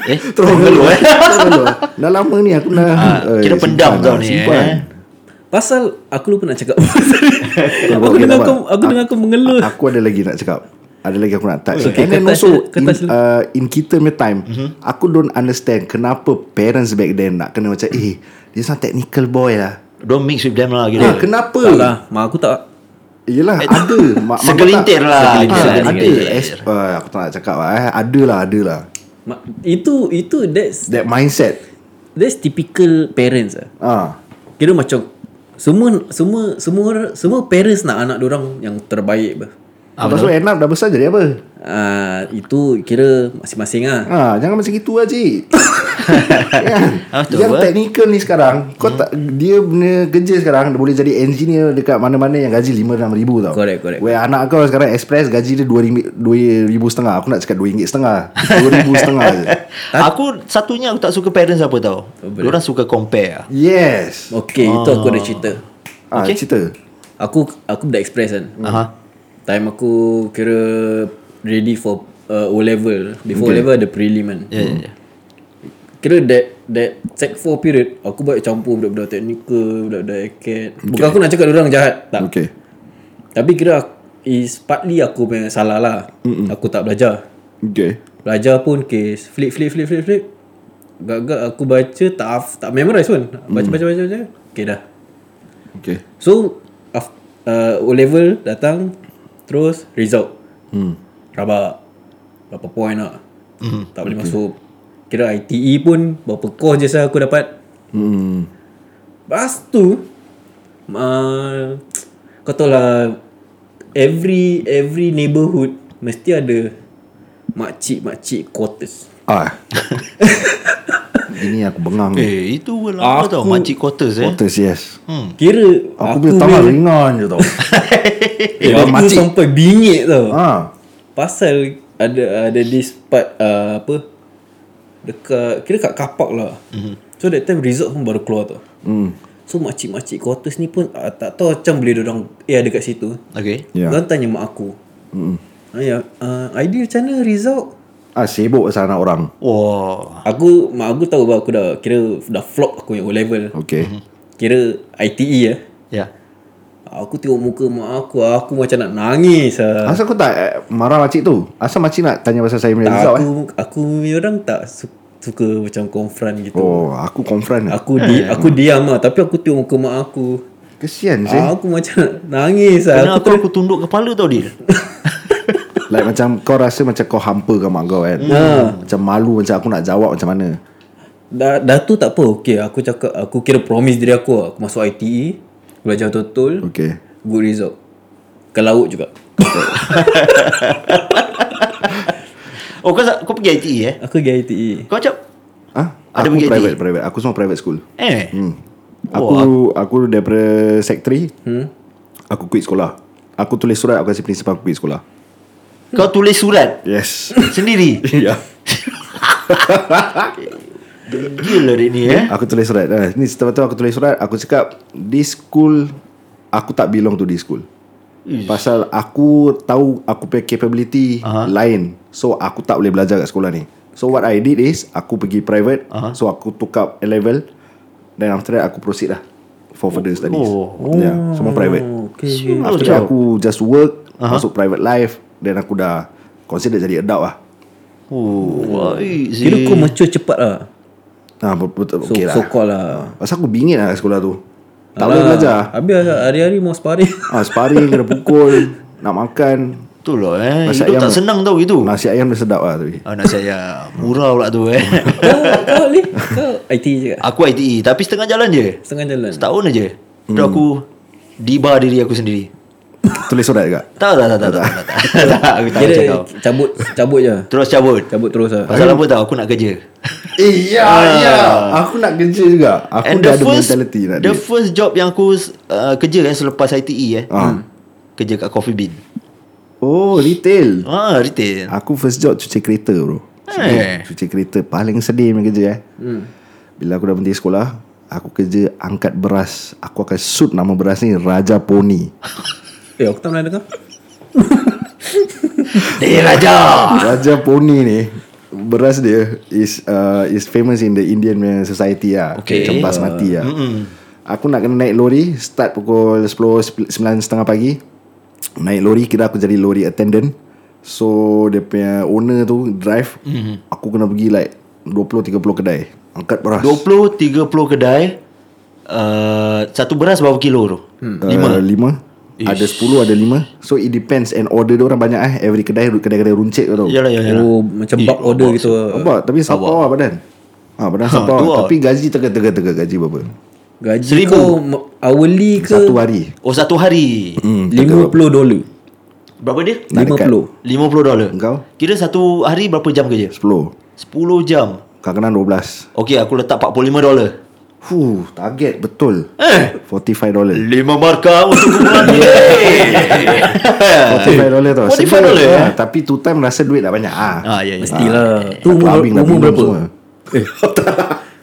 [SPEAKER 2] Eh,
[SPEAKER 1] Terus dulu eh. Terus dulu. Dah lama ni aku dah
[SPEAKER 2] Ah,
[SPEAKER 1] eh,
[SPEAKER 2] kira pendam
[SPEAKER 1] simpan
[SPEAKER 2] tau
[SPEAKER 1] lah,
[SPEAKER 2] ni,
[SPEAKER 1] Simpan.
[SPEAKER 2] eh.
[SPEAKER 3] Pasal Aku lupa nak cakap apa
[SPEAKER 1] Kenapa?
[SPEAKER 3] tadi. Aku
[SPEAKER 1] Okay,
[SPEAKER 3] dengar
[SPEAKER 1] tak
[SPEAKER 3] kau
[SPEAKER 1] apa.
[SPEAKER 3] Aku dengar kau mengeluh
[SPEAKER 1] Aku ada lagi nak cakap. Ada lagi aku nak touch.
[SPEAKER 3] Okay,
[SPEAKER 1] And then
[SPEAKER 3] kau touch
[SPEAKER 1] also
[SPEAKER 3] dulu, kau
[SPEAKER 1] in,
[SPEAKER 3] touch dulu.
[SPEAKER 1] uh, in kita punya time, aku don't understand kenapa parents back then nak kena macam eh dia sang technical boy lah.
[SPEAKER 2] Don't mix with them
[SPEAKER 1] Ah,
[SPEAKER 2] lah kira.
[SPEAKER 1] kenapa?
[SPEAKER 3] Tak lah Eh, Mak aku tak
[SPEAKER 1] Yelah ada Mak- mak
[SPEAKER 2] Segelintir
[SPEAKER 1] tak-
[SPEAKER 2] lah.
[SPEAKER 1] Segelintir,
[SPEAKER 2] Segelintir,
[SPEAKER 1] Ada
[SPEAKER 2] segelintir.
[SPEAKER 1] As, uh, Aku tak nak cakap lah eh. Ada lah Ada lah
[SPEAKER 3] Ma- Itu Itu that's
[SPEAKER 1] That mindset
[SPEAKER 3] That's typical parents lah
[SPEAKER 1] Ah,
[SPEAKER 3] Kira macam Semua Semua Semua semua parents nak anak orang Yang terbaik bah. Ah,
[SPEAKER 1] Lepas tu end up dah besar jadi apa
[SPEAKER 3] Uh, itu kira masing-masing lah
[SPEAKER 1] ah, Jangan macam itu lah cik
[SPEAKER 2] Ah,
[SPEAKER 1] Kan?
[SPEAKER 2] betul
[SPEAKER 1] Yang
[SPEAKER 2] apa? Hmm.
[SPEAKER 1] technical ni sekarang kau tak, Dia punya kerja sekarang Dia boleh jadi engineer Dekat mana-mana yang gaji 5-6 ribu tau
[SPEAKER 3] Correct, correct.
[SPEAKER 1] Where anak kau sekarang express Gaji dia 2 ribu setengah Aku nak cakap 2 ringgit setengah 2 ribu setengah je
[SPEAKER 2] Aku satunya aku tak suka parents apa tau. Orang suka compare. lah.
[SPEAKER 1] Yes
[SPEAKER 3] Okay Itu aku ada cerita
[SPEAKER 1] ah,
[SPEAKER 2] Okay.
[SPEAKER 1] Cerita
[SPEAKER 3] Aku Aku budak express kan
[SPEAKER 2] Aha.
[SPEAKER 3] Time aku Kira Ready for uh, O-level Before O-level ada prelim kan
[SPEAKER 2] Ya ya ya.
[SPEAKER 3] Kira that That Sec 4 period Aku buat campur Budak-budak teknikal Budak-budak acad Bukan aku nak cakap orang jahat Tak
[SPEAKER 1] Okay
[SPEAKER 3] Tapi kira aku- Is partly aku punya salah lah Mm-mm. Aku tak belajar
[SPEAKER 1] Okay
[SPEAKER 3] Belajar pun kes Flip flip flip flip flip Gagak aku baca Tak haf- tak memorize pun Baca baca baca baca Okay dah
[SPEAKER 1] Okay
[SPEAKER 3] So af, uh, O level datang Terus result
[SPEAKER 1] Hmm
[SPEAKER 3] Rabak Berapa point lah Tak boleh masuk Kira ITE pun Berapa course je saya aku dapat
[SPEAKER 1] Hmm
[SPEAKER 3] Lepas tu uh, Kau tahu lah Every Every neighborhood Mesti ada Makcik-makcik quarters
[SPEAKER 1] Ah. Ini aku bengang ni.
[SPEAKER 2] Eh, itu lama
[SPEAKER 3] Aku-
[SPEAKER 2] tau makcik quarters eh.
[SPEAKER 1] Quarters yes.
[SPEAKER 3] Kira
[SPEAKER 1] Hmm. Aku boleh tambah ringan je tau.
[SPEAKER 3] eh, Aku
[SPEAKER 1] makcik.
[SPEAKER 3] sampai bingit tau
[SPEAKER 1] ha.
[SPEAKER 3] Pasal ada ada this part uh, apa dekat kira kat kapak lah. Mm-hmm. So that time result pun baru keluar tau.
[SPEAKER 1] Mhm. Hmm.
[SPEAKER 3] So makcik-makcik quarters ni pun uh, tak tahu macam boleh orang eh ada kat situ.
[SPEAKER 1] Ya.
[SPEAKER 2] Okay.
[SPEAKER 1] Hmm.
[SPEAKER 3] Yeah. Orang tanya mak aku. Mm. Ayah, uh, idea macam mana result?
[SPEAKER 1] Ah sibuk pasal anak orang.
[SPEAKER 2] Wah.
[SPEAKER 3] Aku mak aku tahu bahawa aku dah kira dah flop aku yang O level.
[SPEAKER 2] Hmm.
[SPEAKER 1] Okay.
[SPEAKER 3] Kira ITE ya.
[SPEAKER 2] Ya.
[SPEAKER 3] Aku tengok muka mak aku, aku macam nak nangis ah.
[SPEAKER 1] Asal kau tak eh, marah makcik tu? Asal makcik nak tanya pasal saya punya result eh?
[SPEAKER 3] Aku aku ni orang tak su- suka macam confront gitu.
[SPEAKER 1] Oh, aku confront lah.
[SPEAKER 3] Aku di, aku diam lah Tapi aku tengok muka mak aku
[SPEAKER 1] Kesian sih.
[SPEAKER 3] ah, Aku macam nak nangis lah
[SPEAKER 2] Kenapa
[SPEAKER 3] aku,
[SPEAKER 2] aku, aku tunduk kepala tau dia?
[SPEAKER 1] Like macam kau rasa macam kau hampa ke mak kau kan? Macam malu macam aku nak jawab macam mana.
[SPEAKER 3] dah, dah tu tak apa Okay aku cakap Aku kira promise diri aku lah. Aku masuk ITE Belajar betul-betul
[SPEAKER 1] Okay.
[SPEAKER 3] Good result Ke laut juga
[SPEAKER 2] Oh kau kau pergi ITE eh?
[SPEAKER 3] Aku pergi E. ITE
[SPEAKER 2] Kau macam
[SPEAKER 1] Ah,
[SPEAKER 2] Ada
[SPEAKER 1] aku
[SPEAKER 2] pergi
[SPEAKER 1] private,
[SPEAKER 2] ITE?
[SPEAKER 1] private. Aku semua private school.
[SPEAKER 2] eh. Hmm.
[SPEAKER 1] Aku aku daripada sec 3 Aku quit sekolah Aku tulis surat Aku kasi principal aku quit sekolah
[SPEAKER 2] Kau tulis surat
[SPEAKER 1] Yes
[SPEAKER 2] sendiri.
[SPEAKER 1] Ya
[SPEAKER 2] Gila dia ni
[SPEAKER 3] Ya.
[SPEAKER 2] eh.
[SPEAKER 1] Aku tulis surat ha, Ni setelah tu aku tulis surat Aku cakap This school Aku tak belong to this school
[SPEAKER 2] Ish.
[SPEAKER 1] Pasal aku tahu Aku punya capability
[SPEAKER 2] Aha.
[SPEAKER 1] Lain So aku tak boleh belajar kat sekolah ni So what I did is Aku pergi private
[SPEAKER 2] Aha.
[SPEAKER 1] So aku took up A level Then after that Aku proceed lah For further studies
[SPEAKER 2] Oh.
[SPEAKER 1] yeah, Ya, Semua private
[SPEAKER 3] oh, okay.
[SPEAKER 1] After that aku just work uh-huh. Masuk private life Then aku dah Consider jadi adult lah
[SPEAKER 2] Oh,
[SPEAKER 3] Kira
[SPEAKER 2] Kira
[SPEAKER 3] kau mature cepat lah
[SPEAKER 1] ah, betul,
[SPEAKER 3] So,
[SPEAKER 1] okay lah
[SPEAKER 3] so called lah
[SPEAKER 1] Pasal aku bingit lah kat sekolah tu Tak boleh belajar
[SPEAKER 3] Habis lah. hari-hari mau sparring
[SPEAKER 1] ah, Sparring kena pukul Nak makan
[SPEAKER 2] Betul lah eh.
[SPEAKER 1] Nasi ayam-
[SPEAKER 2] Hidup tak senang tau gitu.
[SPEAKER 1] Nasi ayam dia sedap lah tapi
[SPEAKER 2] Ah, nak saya murah pula tu eh.
[SPEAKER 3] Kau kau ni Kau E ITE juga
[SPEAKER 2] aku ITE tapi setengah jalan je.
[SPEAKER 3] Setengah jalan
[SPEAKER 2] Setahun aja. Hmm. aku dibar diri aku sendiri.
[SPEAKER 1] Tulis surat juga
[SPEAKER 2] Tak tak tak tak tak tak, tak. Tak, Aku tak macam
[SPEAKER 3] Kira
[SPEAKER 2] kau
[SPEAKER 3] cabut Cabut je
[SPEAKER 2] Terus cabut
[SPEAKER 3] Cabut terus lah
[SPEAKER 2] Pasal apa tau Aku nak kerja
[SPEAKER 1] Eh ya ya Aku nak kerja juga Aku
[SPEAKER 2] And
[SPEAKER 1] dah
[SPEAKER 2] the
[SPEAKER 1] ada
[SPEAKER 2] first-
[SPEAKER 1] mentality nak
[SPEAKER 2] The
[SPEAKER 1] dia
[SPEAKER 2] first job yang aku uh, Kerja kan Selepas ITE eh
[SPEAKER 1] Ah.
[SPEAKER 2] Kerja kat Coffee Bean
[SPEAKER 1] Oh retail
[SPEAKER 2] Ah, retail
[SPEAKER 1] Aku first job cuci kereta bro Cuci,
[SPEAKER 2] Eh.
[SPEAKER 1] cuci kereta Paling sedih punya kerja eh Bila aku dah berhenti sekolah Aku kerja angkat beras Aku akan shoot nama beras ni Raja Pony
[SPEAKER 3] Eh aku tak pernah dengar
[SPEAKER 2] Eh Raja
[SPEAKER 1] Raja Pony ni Beras dia Is uh, is famous in the Indian punya society lah
[SPEAKER 2] Okay.
[SPEAKER 1] Macam basmati lah Aku nak kena naik lori Start pukul 10 9.30 pagi Naik lori Kira aku jadi lori attendant So dia punya owner tu Drive Aku kena pergi like 20-30 kedai Angkat beras
[SPEAKER 2] 20 30 kedai uh, satu beras berapa kilo tu? Hmm.
[SPEAKER 1] lima. Uh, lima. Ada sepuluh Ada lima So it depends And order dia orang banyak eh Every kedai Kedai-kedai runcit kau tahu
[SPEAKER 2] Yalah yalah. Eh,
[SPEAKER 3] Oh macam bug order gitu
[SPEAKER 1] Abah Tapi sapau lah badan Ha, badan sapau
[SPEAKER 2] tu
[SPEAKER 1] lah.
[SPEAKER 2] lah.
[SPEAKER 1] Tapi gaji teka-teka gaji berapa
[SPEAKER 3] Gaji
[SPEAKER 2] Seribu.
[SPEAKER 3] kau ma- Hourly ke
[SPEAKER 1] Satu hari
[SPEAKER 2] Oh satu hari. Hmm.
[SPEAKER 3] 50 dolar
[SPEAKER 2] Berapa dia?
[SPEAKER 1] Nak dekat.
[SPEAKER 3] 50
[SPEAKER 2] 50 dolar.
[SPEAKER 1] Engkau?
[SPEAKER 2] Kira satu hari berapa jam kerja? 10
[SPEAKER 1] Sepuluh
[SPEAKER 2] jam.
[SPEAKER 1] Kadang-kadang dua belas
[SPEAKER 2] Okey, aku letak 45 dolar.
[SPEAKER 1] Huh, target betul
[SPEAKER 2] Eh,
[SPEAKER 1] 45 dolar
[SPEAKER 2] lima markah untuk kumpulan ni.
[SPEAKER 1] 45 dolar tau
[SPEAKER 2] 45
[SPEAKER 1] Sedap,
[SPEAKER 2] dolar,
[SPEAKER 1] ha, Tapi two time rasa duit dah banyak ah.
[SPEAKER 2] ah, ya ya.
[SPEAKER 3] Yelah Tu
[SPEAKER 1] Aku
[SPEAKER 3] umur,
[SPEAKER 1] habis dah
[SPEAKER 3] umur
[SPEAKER 1] minum
[SPEAKER 3] berapa
[SPEAKER 1] semua.
[SPEAKER 3] Eh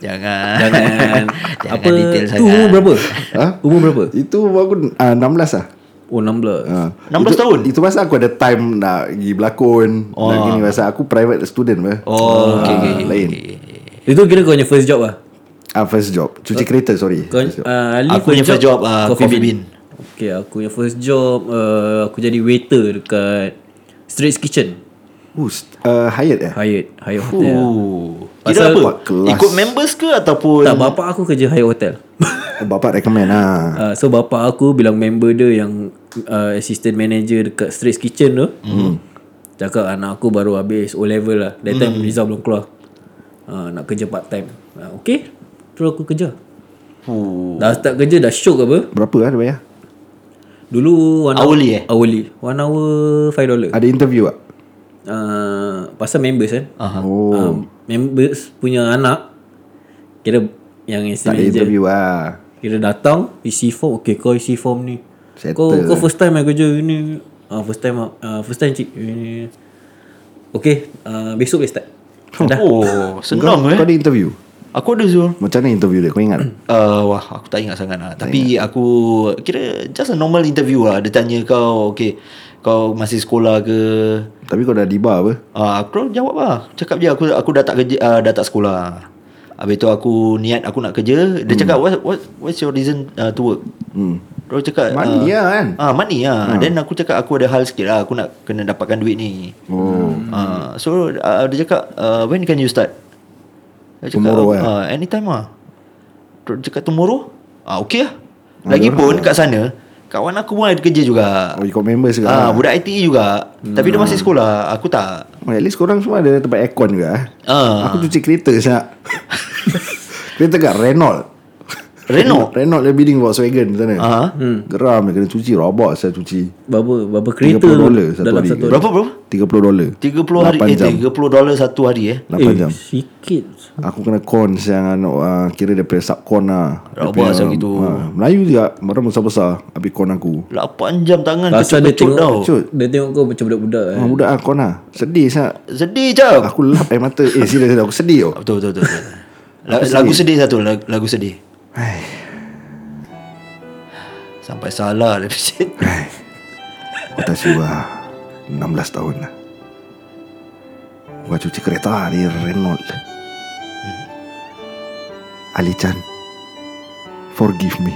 [SPEAKER 2] Jangan.
[SPEAKER 3] Jangan
[SPEAKER 2] Jangan
[SPEAKER 3] Apa
[SPEAKER 2] detail
[SPEAKER 3] Tu umur
[SPEAKER 2] sangat.
[SPEAKER 3] berapa
[SPEAKER 1] Ha?
[SPEAKER 3] Umur berapa
[SPEAKER 1] Itu aku ah, 16 lah
[SPEAKER 3] Oh 16
[SPEAKER 1] Ah.
[SPEAKER 2] 16
[SPEAKER 1] itu,
[SPEAKER 2] tahun?
[SPEAKER 1] Itu pasal aku ada time Nak pergi berlakon oh. Nak gini pasal Aku private student apa.
[SPEAKER 2] Oh, okey
[SPEAKER 1] Ah,
[SPEAKER 2] okey.
[SPEAKER 1] Lain
[SPEAKER 3] Itu kira kau punya first job lah
[SPEAKER 1] ah, First job Cuci kereta sorry
[SPEAKER 3] Kau,
[SPEAKER 1] First job.
[SPEAKER 3] uh, Ali
[SPEAKER 2] Aku punya first job, ah, Coffee Bean.
[SPEAKER 3] Okay aku punya first job uh, Aku jadi waiter dekat Straits Kitchen
[SPEAKER 1] Uh, st- uh, Hyatt eh
[SPEAKER 3] Hyatt Hyatt Hotel
[SPEAKER 2] Oh. Ooh.
[SPEAKER 3] Pasal-
[SPEAKER 2] Kira apa?
[SPEAKER 1] kelas.
[SPEAKER 2] Ikut members ke ataupun
[SPEAKER 3] Tak bapak aku kerja Hyatt Hotel
[SPEAKER 1] Eh, Bapak recommend lah
[SPEAKER 3] uh, So bapak aku bilang member dia yang uh, Assistant manager dekat Straits Kitchen tu hmm. Cakap anak aku baru habis O level lah That time result belum keluar uh, Nak kerja part time uh, Okay Terus aku kerja
[SPEAKER 2] Ooh.
[SPEAKER 3] Dah start kerja dah shock apa
[SPEAKER 1] Berapa lah dia bayar
[SPEAKER 3] Dulu one
[SPEAKER 2] Hourly, eh?
[SPEAKER 3] hour, Hourly One hour Five dollar
[SPEAKER 1] Ada interview tak
[SPEAKER 3] uh, Pasal members kan
[SPEAKER 2] Aha.
[SPEAKER 1] Oh
[SPEAKER 3] um, Members punya anak Kira Yang
[SPEAKER 1] Tak ada
[SPEAKER 3] assistant manager
[SPEAKER 1] interview lah
[SPEAKER 3] Kira datang Isi form Okay kau isi form ni
[SPEAKER 1] Settle. lah.
[SPEAKER 3] Kau kau first time eh kerja ni ah, First time ah, ah, First time cik Ini. Okay ah, Besok boleh start Dah
[SPEAKER 2] Oh, senang
[SPEAKER 1] kau,
[SPEAKER 2] eh.
[SPEAKER 1] kau ada interview
[SPEAKER 2] Aku ada Zul
[SPEAKER 1] Macam mana interview dia Kau ingat tak?
[SPEAKER 2] uh, Wah aku tak ingat sangat lah Tapi aku Kira just a normal interview lah Dia tanya kau Okay Kau masih sekolah ke
[SPEAKER 1] Tapi kau dah diba apa
[SPEAKER 2] uh, Aku jawab lah Cakap je aku aku dah tak kerja uh, Dah tak sekolah Habis tu aku niat aku nak kerja Dia
[SPEAKER 3] Hmm.
[SPEAKER 2] cakap what, what, What's your reason uh, to work hmm. Dia cakap
[SPEAKER 1] Money lah kan?
[SPEAKER 2] Ah, money lah. Then aku cakap aku ada hal sikit lah. Aku nak kena dapatkan duit ni.
[SPEAKER 1] Oh.
[SPEAKER 2] Ah, so uh, dia cakap uh, when can you start? Dia
[SPEAKER 1] Tomorrow, eh?
[SPEAKER 2] ah, anytime lah. Terus Dia cakap tomorrow? Ah, okay lah. Lagipun kat sana, kawan aku pun ada kerja juga.
[SPEAKER 1] lah. Oh Hmm. you got members ke
[SPEAKER 2] Ah, budak ITE juga. Tapi dia masih sekolah. Aku tak.
[SPEAKER 1] oh, At least korang semua ada tempat aircon ke ah?
[SPEAKER 2] Ah.
[SPEAKER 1] Aku cuci kereta siap Kereta kat Renault
[SPEAKER 2] Renault?
[SPEAKER 1] Renault dia bidding Volkswagen sana
[SPEAKER 2] Ah.
[SPEAKER 1] Geram dia kena cuci Robot saya cuci
[SPEAKER 3] Berapa Berapa
[SPEAKER 1] 30
[SPEAKER 3] kereta
[SPEAKER 1] dolar satu
[SPEAKER 3] Dalam
[SPEAKER 1] hari.
[SPEAKER 3] satu hari
[SPEAKER 2] Berapa bro?
[SPEAKER 1] 30 dolar
[SPEAKER 2] 30 hari
[SPEAKER 1] 8
[SPEAKER 2] eh,
[SPEAKER 1] jam
[SPEAKER 2] 30 dolar satu hari eh.
[SPEAKER 1] 8
[SPEAKER 3] Eh
[SPEAKER 1] jam
[SPEAKER 3] sikit
[SPEAKER 1] Aku kena con siang uh, Kira dia punya subcon lah Dia
[SPEAKER 2] Rabak
[SPEAKER 1] punya,
[SPEAKER 2] asal gitu.
[SPEAKER 1] ah, Melayu juga Barang besar-besar Habis con aku
[SPEAKER 2] 8 jam tangan
[SPEAKER 3] Pasal
[SPEAKER 2] kecut-kecut
[SPEAKER 3] dia tengok
[SPEAKER 2] tau.
[SPEAKER 1] Kecut.
[SPEAKER 3] Dia tengok kau macam budak-budak eh.
[SPEAKER 1] Ah, budak lah con lah Sedih siap
[SPEAKER 2] Sedih jap.
[SPEAKER 1] Aku lap air mata Eh serius serius, aku sedih tau
[SPEAKER 2] Betul betul betul. betul. La- lagu sedih satu lagu, lagu sedih. Sampai salah lah shit.
[SPEAKER 1] Eh. Watashi wa 16 lah. tahun lah Gua cuci kereta di Renault Ali Chan Forgive me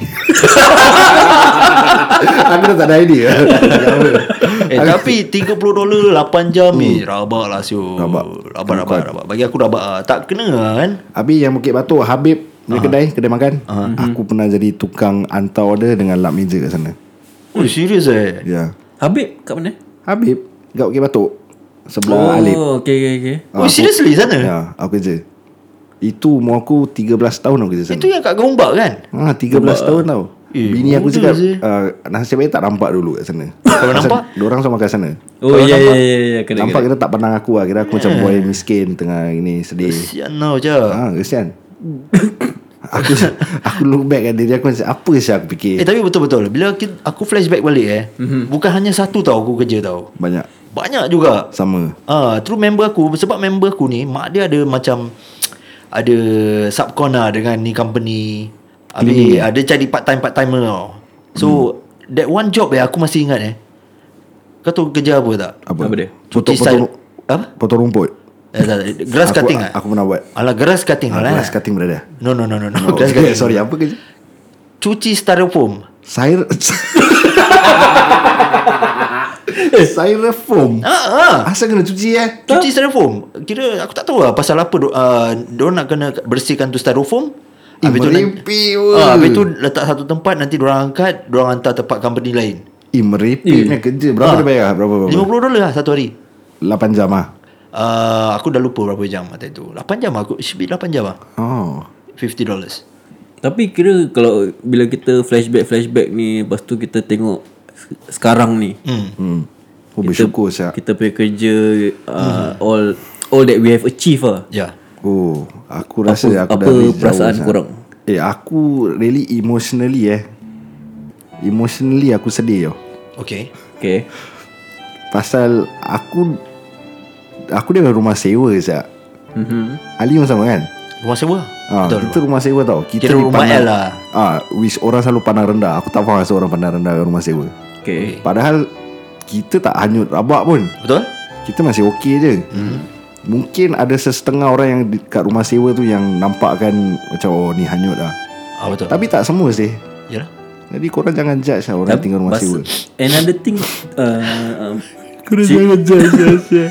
[SPEAKER 1] Aku dah tak ada idea
[SPEAKER 2] Eh tapi 30 dolar 8 jam ni rabak lah siu.
[SPEAKER 1] Rabak.
[SPEAKER 2] Rabak rabak rabak. Bagi aku rabak ah. Tak kena lah kan.
[SPEAKER 1] Habis yang Bukit Batok Habib Ni kedai Kedai makan Aku pernah jadi tukang Hantar order dengan lap meja kat sana
[SPEAKER 2] Ui serius
[SPEAKER 1] Ya
[SPEAKER 2] eh.
[SPEAKER 1] yeah.
[SPEAKER 3] Habib kat mana Oh,
[SPEAKER 1] Habib Kat Bukit Batok
[SPEAKER 2] Oh.
[SPEAKER 1] Sebelah Alip
[SPEAKER 3] okay, okay, okay.
[SPEAKER 2] Ui seriously sana.
[SPEAKER 1] Ya, aku kerja. Itu umur aku 13 tahun aku kerja sana.
[SPEAKER 2] Itu yang kat Gombak kan?
[SPEAKER 1] Ha, 13 tahun tau.
[SPEAKER 2] Eh,
[SPEAKER 1] Bini aku
[SPEAKER 2] bodoh
[SPEAKER 1] cakap
[SPEAKER 2] je.
[SPEAKER 1] uh, Nasib baik tak nampak dulu kat sana
[SPEAKER 2] Kalau nampak?
[SPEAKER 1] Diorang sama kat sana
[SPEAKER 3] Oh ya ya ya ya kena
[SPEAKER 1] Nampak
[SPEAKER 3] kena.
[SPEAKER 1] kena tak pandang aku lah Kira aku macam boy miskin Tengah ini sedih
[SPEAKER 2] Sian now je ha.
[SPEAKER 1] Ah, kesian Aku aku look back at diri aku macam, Apa saya aku fikir
[SPEAKER 2] Eh tapi betul-betul Bila ki- aku flashback balik eh mm-hmm. Bukan hanya satu tau aku kerja tau
[SPEAKER 1] Banyak
[SPEAKER 2] Banyak juga
[SPEAKER 1] Sama
[SPEAKER 2] Ah, Through member aku Sebab member aku ni Mak dia ada macam Ada subcon lah Dengan ni company
[SPEAKER 1] Hmm.
[SPEAKER 2] Habis ada cari part-time part-timer tau So mm. That one job eh Aku masih ingat eh Kau tahu kerja apa tak?
[SPEAKER 1] Apa,
[SPEAKER 3] Apa dia?
[SPEAKER 1] Potong,
[SPEAKER 2] Cuci style
[SPEAKER 1] potong,
[SPEAKER 2] Apa?
[SPEAKER 1] potong rumput
[SPEAKER 2] Eh, tak, tak, grass
[SPEAKER 1] Aku-
[SPEAKER 2] cutting ah? eh.
[SPEAKER 1] aku pernah buat.
[SPEAKER 2] Alah grass cutting
[SPEAKER 1] ah,
[SPEAKER 2] lah
[SPEAKER 1] Kelas cutting berada
[SPEAKER 2] No no no no, no.
[SPEAKER 1] oh,
[SPEAKER 2] grass
[SPEAKER 1] okay,
[SPEAKER 2] cutting
[SPEAKER 1] Sorry apa kerja
[SPEAKER 2] Cuci styrofoam
[SPEAKER 1] Syr Styrofoam
[SPEAKER 2] Ah, ah.
[SPEAKER 1] Asal kena cuci eh
[SPEAKER 2] Cuci styrofoam Kira aku tak tahu lah Pasal apa uh, Diorang nak kena Bersihkan tu styrofoam
[SPEAKER 1] Eh,
[SPEAKER 2] Habis tu nan-
[SPEAKER 1] merepek
[SPEAKER 2] ah, Habis tu
[SPEAKER 1] tu
[SPEAKER 2] letak satu tempat Nanti diorang angkat Diorang hantar tempat company lain
[SPEAKER 1] Eh merepek punya kerja Berapa
[SPEAKER 2] Ah.
[SPEAKER 1] dia bayar Berapa berapa
[SPEAKER 2] $50 dolar lah satu hari
[SPEAKER 1] 8 jam ah.
[SPEAKER 2] uh, Aku dah lupa berapa jam Mata itu 8 jam aku Should be 8 jam lah
[SPEAKER 1] Oh
[SPEAKER 2] $50 dollars
[SPEAKER 3] Tapi kira kalau bila kita flashback flashback ni lepas tu kita tengok se- sekarang ni.
[SPEAKER 2] hmm.
[SPEAKER 1] hmm. Oh bersyukur saya
[SPEAKER 3] Kita punya kerja uh, all all that we have achieved lah.
[SPEAKER 2] Ya yeah.
[SPEAKER 1] Oh Aku rasa aku
[SPEAKER 3] Apa- apa
[SPEAKER 1] dah reach jauh,
[SPEAKER 3] perasaan
[SPEAKER 1] Syah.
[SPEAKER 3] korang?
[SPEAKER 1] Eh aku really emotionally eh Emotionally aku sedih tau
[SPEAKER 2] Okay
[SPEAKER 3] Okay.
[SPEAKER 1] Pasal aku Aku dia rumah sewa Zak
[SPEAKER 3] Mhm.
[SPEAKER 1] Ali pun sama kan
[SPEAKER 2] Rumah sewa
[SPEAKER 1] ha,
[SPEAKER 2] Betul
[SPEAKER 1] Kita rumah sewa tau Kita
[SPEAKER 2] Kira rumah
[SPEAKER 1] dipandang-
[SPEAKER 2] L lah.
[SPEAKER 1] Ah, Which orang selalu pandang rendah Aku tak faham asal orang pandang rendah kat rumah sewa
[SPEAKER 3] Okay.
[SPEAKER 1] Padahal Kita tak hanyut rabak pun
[SPEAKER 2] Betul
[SPEAKER 1] Kita masih okey je hmm. Mungkin ada sesetengah orang yang di- Kat rumah sewa tu yang nampakkan Macam oh ni hanyut lah
[SPEAKER 2] ah, Betul Ya lah.
[SPEAKER 1] Tapi tak semua sih
[SPEAKER 2] Yalah
[SPEAKER 1] Jadi korang jangan judge lah Orang tinggal rumah
[SPEAKER 3] Bas-
[SPEAKER 1] sewa
[SPEAKER 3] Another thing uh, um,
[SPEAKER 1] Korang jangan judge Asya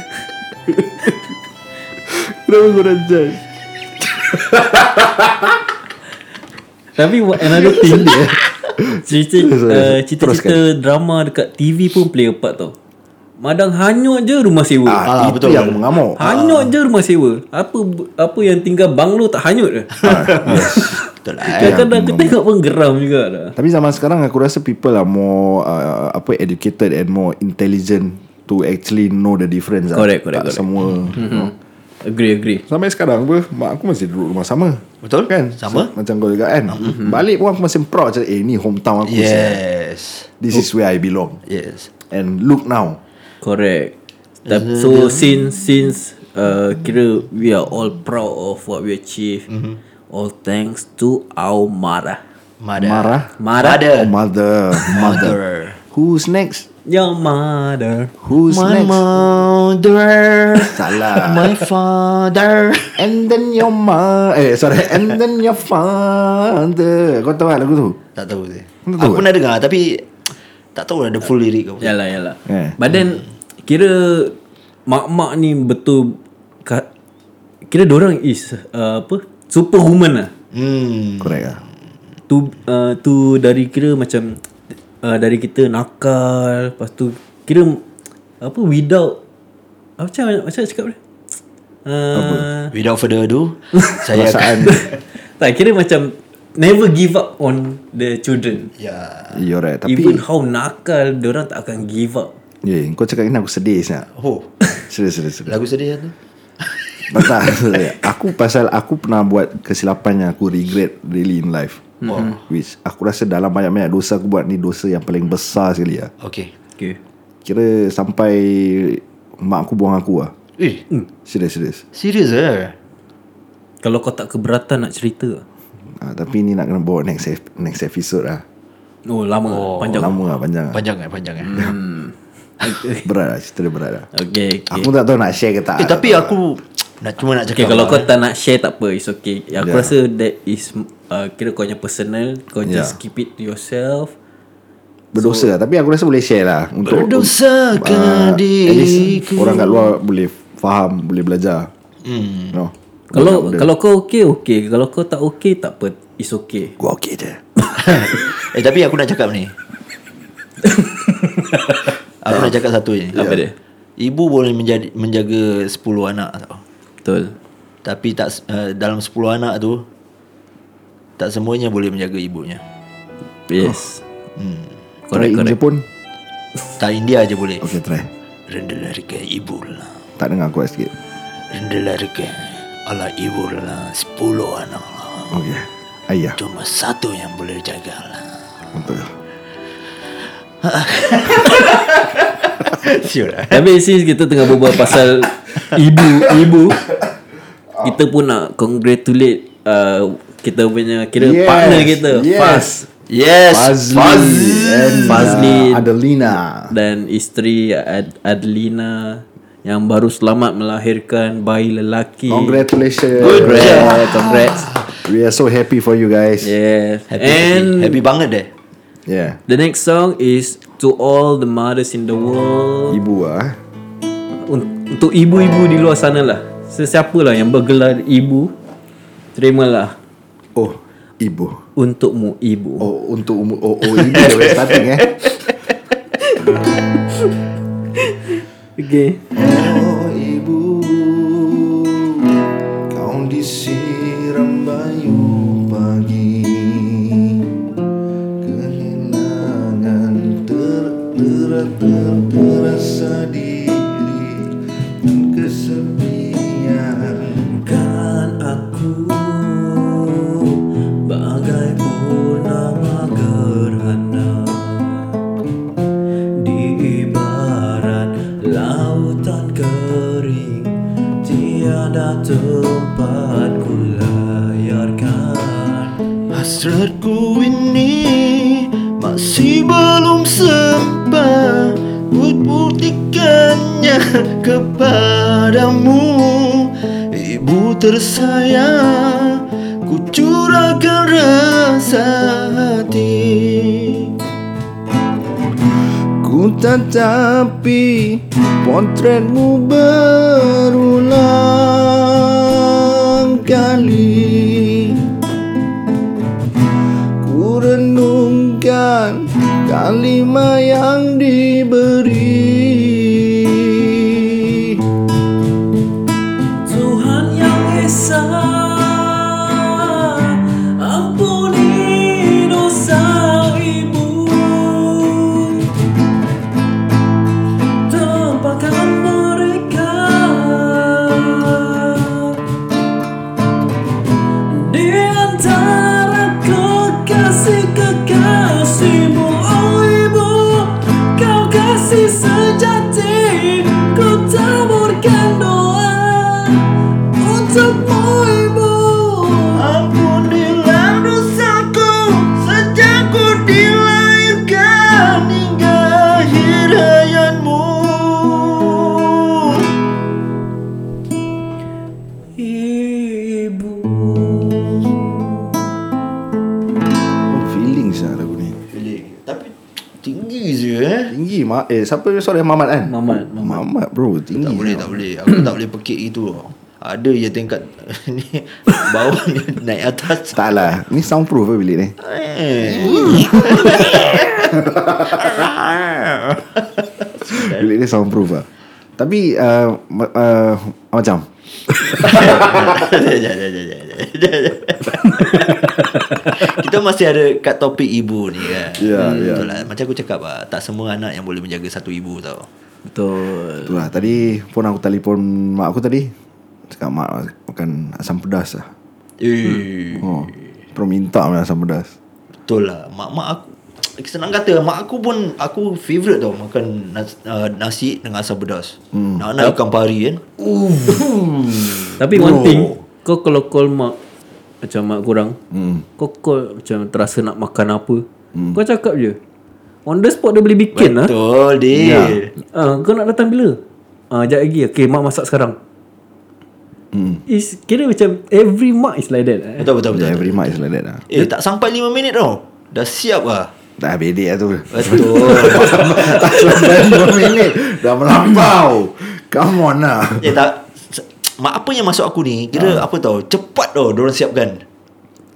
[SPEAKER 1] Kenapa korang judge
[SPEAKER 3] Tapi what- another thing Cerita uh,
[SPEAKER 1] Terus,
[SPEAKER 3] Cerita-cerita drama Dekat TV pun play a part tau Madang hanyut je rumah sewa
[SPEAKER 1] ah,
[SPEAKER 2] Ah,
[SPEAKER 1] Itu
[SPEAKER 2] betul.
[SPEAKER 1] yang aku mengamuk
[SPEAKER 3] Hanyut je rumah sewa Apa apa yang tinggal banglo tak hanyut ke
[SPEAKER 2] Betul lah
[SPEAKER 1] Ah, Itu yang aku
[SPEAKER 3] Kadang-kadang aku
[SPEAKER 1] mengamuk.
[SPEAKER 3] tengok pun geram juga lah
[SPEAKER 1] Tapi zaman sekarang aku rasa people are more uh, apa educated and more intelligent to actually know the difference. lah.
[SPEAKER 3] Correct, correct,
[SPEAKER 1] tak
[SPEAKER 3] correct.
[SPEAKER 1] semua. Mm-hmm.
[SPEAKER 3] Agree agree
[SPEAKER 1] Sampai sekarang pun mak aku masih duduk rumah sama.
[SPEAKER 2] Betul.
[SPEAKER 1] Kan?
[SPEAKER 2] Sama.
[SPEAKER 1] So, macam kau juga kan. Mm-hmm. Balik pun aku masih proud macam eh ni hometown aku. sia.
[SPEAKER 2] Yes
[SPEAKER 1] This is where I belong.
[SPEAKER 2] Yes
[SPEAKER 1] And look now.
[SPEAKER 3] Correct Tapi- So since Since uh, Kira We are all proud Of what we achieve All thanks to Our mother
[SPEAKER 2] Mother
[SPEAKER 1] Marah.
[SPEAKER 3] Mother.
[SPEAKER 1] Oh, mother, mother.
[SPEAKER 2] Mother.
[SPEAKER 1] Who's next?
[SPEAKER 3] Your mother
[SPEAKER 1] Who's
[SPEAKER 2] My
[SPEAKER 1] next?
[SPEAKER 2] mother
[SPEAKER 1] Salah.
[SPEAKER 2] My father
[SPEAKER 1] And then your ma Eh sorry And then your father Kau tahu tak lagu tu?
[SPEAKER 2] Tak tahu sih
[SPEAKER 1] Kau tahu
[SPEAKER 2] Aku
[SPEAKER 1] tak?
[SPEAKER 2] pernah dengar Tapi Tak tahu ada full lirik ke apa.
[SPEAKER 3] Yalah yalah
[SPEAKER 1] Eh.
[SPEAKER 3] yeah. But then Kira Mak-mak ni betul ka, Kira dorang is uh, Apa Superwoman lah
[SPEAKER 2] Hmm
[SPEAKER 1] Correct lah
[SPEAKER 3] Tu uh, tu dari kira macam uh, Dari kita nakal Lepas tu Kira Apa without apa Macam mana- macam mana cakap dia uh, Apa
[SPEAKER 2] Without further ado Saya akan
[SPEAKER 1] Perasaan
[SPEAKER 3] Tak kira macam Never give up on the children
[SPEAKER 2] Ya
[SPEAKER 1] You're right
[SPEAKER 3] Tapi,
[SPEAKER 1] Tapi
[SPEAKER 3] Even how nakal Diorang tak akan give up
[SPEAKER 1] yeah, Kau cakap ni aku sedih siap
[SPEAKER 2] Oh
[SPEAKER 1] Serius serius serius
[SPEAKER 2] Lagu sedih tu
[SPEAKER 1] Tak, tak, serius. Aku pasal Aku pernah buat kesilapan yang aku regret Really in life
[SPEAKER 2] Mhm.
[SPEAKER 1] mm-hmm. Which aku rasa dalam banyak-banyak dosa aku buat ni Dosa yang paling besar sekali lah
[SPEAKER 2] Okay
[SPEAKER 3] Okay
[SPEAKER 1] Kira sampai Mak aku buang aku lah
[SPEAKER 2] Eh
[SPEAKER 1] Serius serius
[SPEAKER 2] Serius eh
[SPEAKER 3] Kalau kau tak keberatan nak cerita
[SPEAKER 1] ha, Tapi ni nak kena bawa next, ep- next episode lah
[SPEAKER 3] Oh lama oh, Panjang
[SPEAKER 1] Lama lah panjang lah
[SPEAKER 2] Panjang eh Panjang eh
[SPEAKER 1] Berat lah cerita dia berat lah
[SPEAKER 3] Okay, okay.
[SPEAKER 1] Aku tak tahu nak share ke tak
[SPEAKER 2] Eh tapi aku nak Cuma nak
[SPEAKER 3] Okay,
[SPEAKER 2] cakap
[SPEAKER 3] kalau
[SPEAKER 2] lah,
[SPEAKER 3] kau
[SPEAKER 2] eh.
[SPEAKER 3] tak nak share tak apa It's okay Aku
[SPEAKER 1] Yeah.
[SPEAKER 3] yeah. rasa that is uh, Kira kau punya personal Kau
[SPEAKER 1] Yeah.
[SPEAKER 3] yeah. just keep it to yourself
[SPEAKER 1] Berdosa lah Tapi aku rasa boleh share lah Untuk
[SPEAKER 2] Berdosakan
[SPEAKER 1] at least
[SPEAKER 2] diriku
[SPEAKER 1] Orang kat luar boleh Faham Boleh belajar hmm. no.
[SPEAKER 3] Kalau kalau kau okay, okay Kalau kau tak okay, tak apa It's okay
[SPEAKER 1] Gua okey je
[SPEAKER 2] Eh tapi aku nak cakap ni Aku nak cakap satu je
[SPEAKER 3] Apa dia?
[SPEAKER 2] Ibu boleh menjadi, menjaga 10 anak tau
[SPEAKER 3] Betul
[SPEAKER 2] Tapi tak eh, s- uh, dalam 10 anak tu Tak semuanya boleh menjaga ibunya
[SPEAKER 3] Yes hmm.
[SPEAKER 1] Try
[SPEAKER 3] Correct
[SPEAKER 1] in
[SPEAKER 3] correct
[SPEAKER 1] Jepun
[SPEAKER 2] Tak India je boleh
[SPEAKER 1] Okay try
[SPEAKER 2] Rendah harga ibu lah
[SPEAKER 1] Tak dengar kuat sikit
[SPEAKER 2] Rendah harga Ala ibu lah Sepuluh anak lah
[SPEAKER 1] Okay Ayah
[SPEAKER 2] Cuma satu yang boleh jaga lah
[SPEAKER 1] Untuk
[SPEAKER 2] Siul lah
[SPEAKER 3] Tapi since kita tengah berbual pasal Ibu Ibu Kita pun nak congratulate uh, Kita punya Kira
[SPEAKER 1] Yes,
[SPEAKER 3] partner kita
[SPEAKER 1] yes.
[SPEAKER 3] Faz
[SPEAKER 2] Yes
[SPEAKER 1] Fazli and, uh,
[SPEAKER 3] Fazli.
[SPEAKER 1] Adelina
[SPEAKER 3] Dan isteri Ad- Adlina Yang baru selamat melahirkan Bayi lelaki
[SPEAKER 1] Congratulations
[SPEAKER 3] Congrats Congrats
[SPEAKER 1] We are so happy for you guys Yeah,
[SPEAKER 3] Yes
[SPEAKER 2] Happy,
[SPEAKER 3] And
[SPEAKER 2] happy, happy banget deh
[SPEAKER 3] The next song is To all the mothers in the world
[SPEAKER 1] Ibu ah
[SPEAKER 3] Un- untuk ibu-ibu di luar sana lah Sesiapalah yang bergelar ibu Terimalah
[SPEAKER 1] Oh Ibu
[SPEAKER 3] Untukmu ibu
[SPEAKER 1] Oh untuk umur Oh, oh ibu dari starting eh
[SPEAKER 3] Okay
[SPEAKER 1] Oh ibu Kau disiram bayu pagi Kehilangan ter, ter, ter, terasa diri Dan kesepian
[SPEAKER 3] Kan aku Bagai purnama gerhana Di ibarat lautan kering Tiada tempat ku layarkan
[SPEAKER 2] Hasratku ini masih belum sempat Ku buktikannya kepadamu Ibu tersayang Ku curahkan rasa hati
[SPEAKER 1] Ku tatapi potretmu berulang kali Ku renungkan kalimah yang diberi
[SPEAKER 3] Tuhan yang Esa Ampuni dosa ibu Tempakan mereka Di antara kekasih-kekasihmu Oh ibu Kau kasih sejati Ku taburkan doa Untukmu ibu
[SPEAKER 2] Ampunilah dosaku Sejak ku dilahirkan Hingga akhir hayatmu
[SPEAKER 3] Ibu
[SPEAKER 1] Oh feelings lah lagu ni
[SPEAKER 2] Tapi tinggi je eh
[SPEAKER 1] Tinggi mak Eh siapa suara Mamat kan?
[SPEAKER 3] Mamat,
[SPEAKER 1] Mamat
[SPEAKER 3] Mamat.
[SPEAKER 1] bro tinggi
[SPEAKER 2] Tak boleh tak boleh Aku tak boleh pekik gitu tau. Ada je tingkat Ni Bawah ni naik atas
[SPEAKER 1] Tak lah Ni soundproof ke bilik ni?
[SPEAKER 2] Eh.
[SPEAKER 1] Bilik dia soundproof lah Tapi uh, ma- uh, Macam
[SPEAKER 2] Jap, jap, jap, jap, jap, jap. Kita masih ada kat topik ibu ni kan.
[SPEAKER 1] Ya, ya.
[SPEAKER 2] Betul lah. Macam aku cakap lah, tak semua anak yang boleh menjaga satu ibu tau.
[SPEAKER 3] Betul
[SPEAKER 1] Itulah tadi Pun aku telefon Mak aku tadi Cakap mak Makan asam pedas lah
[SPEAKER 2] Eh,
[SPEAKER 1] oh, Terus minta makan asam pedas
[SPEAKER 2] betul lah. Mak-mak aku Senang kata Mak aku pun Aku favourite tau Makan nas, uh, nasi Dengan asam pedas hmm. Nak-nak ikan pari kan
[SPEAKER 3] Tapi Bro. one thing Kau kalau call mak Macam mak kurang hmm. Kau call Macam terasa nak makan apa hmm. Kau cakap je On the spot dia boleh bikin lah
[SPEAKER 2] Betul dia ya.
[SPEAKER 3] Ah, kau nak datang bila? Ah, jap lagi. Okay, mak masak sekarang. Hmm. Is kira macam every mak is like that. Eh?
[SPEAKER 2] Betul betul betul
[SPEAKER 1] Yeah, every mak is like that lah
[SPEAKER 2] Eh tak sampai 5 minit tau Dah siap lah
[SPEAKER 1] Dah bedek lah tu
[SPEAKER 2] Betul
[SPEAKER 1] Tak sampai 2 minit Dah melampau Come on lah
[SPEAKER 2] Eh tak se- Mak apa yang masuk aku ni Kira
[SPEAKER 1] Ah.
[SPEAKER 2] apa tau Cepat tau Diorang siapkan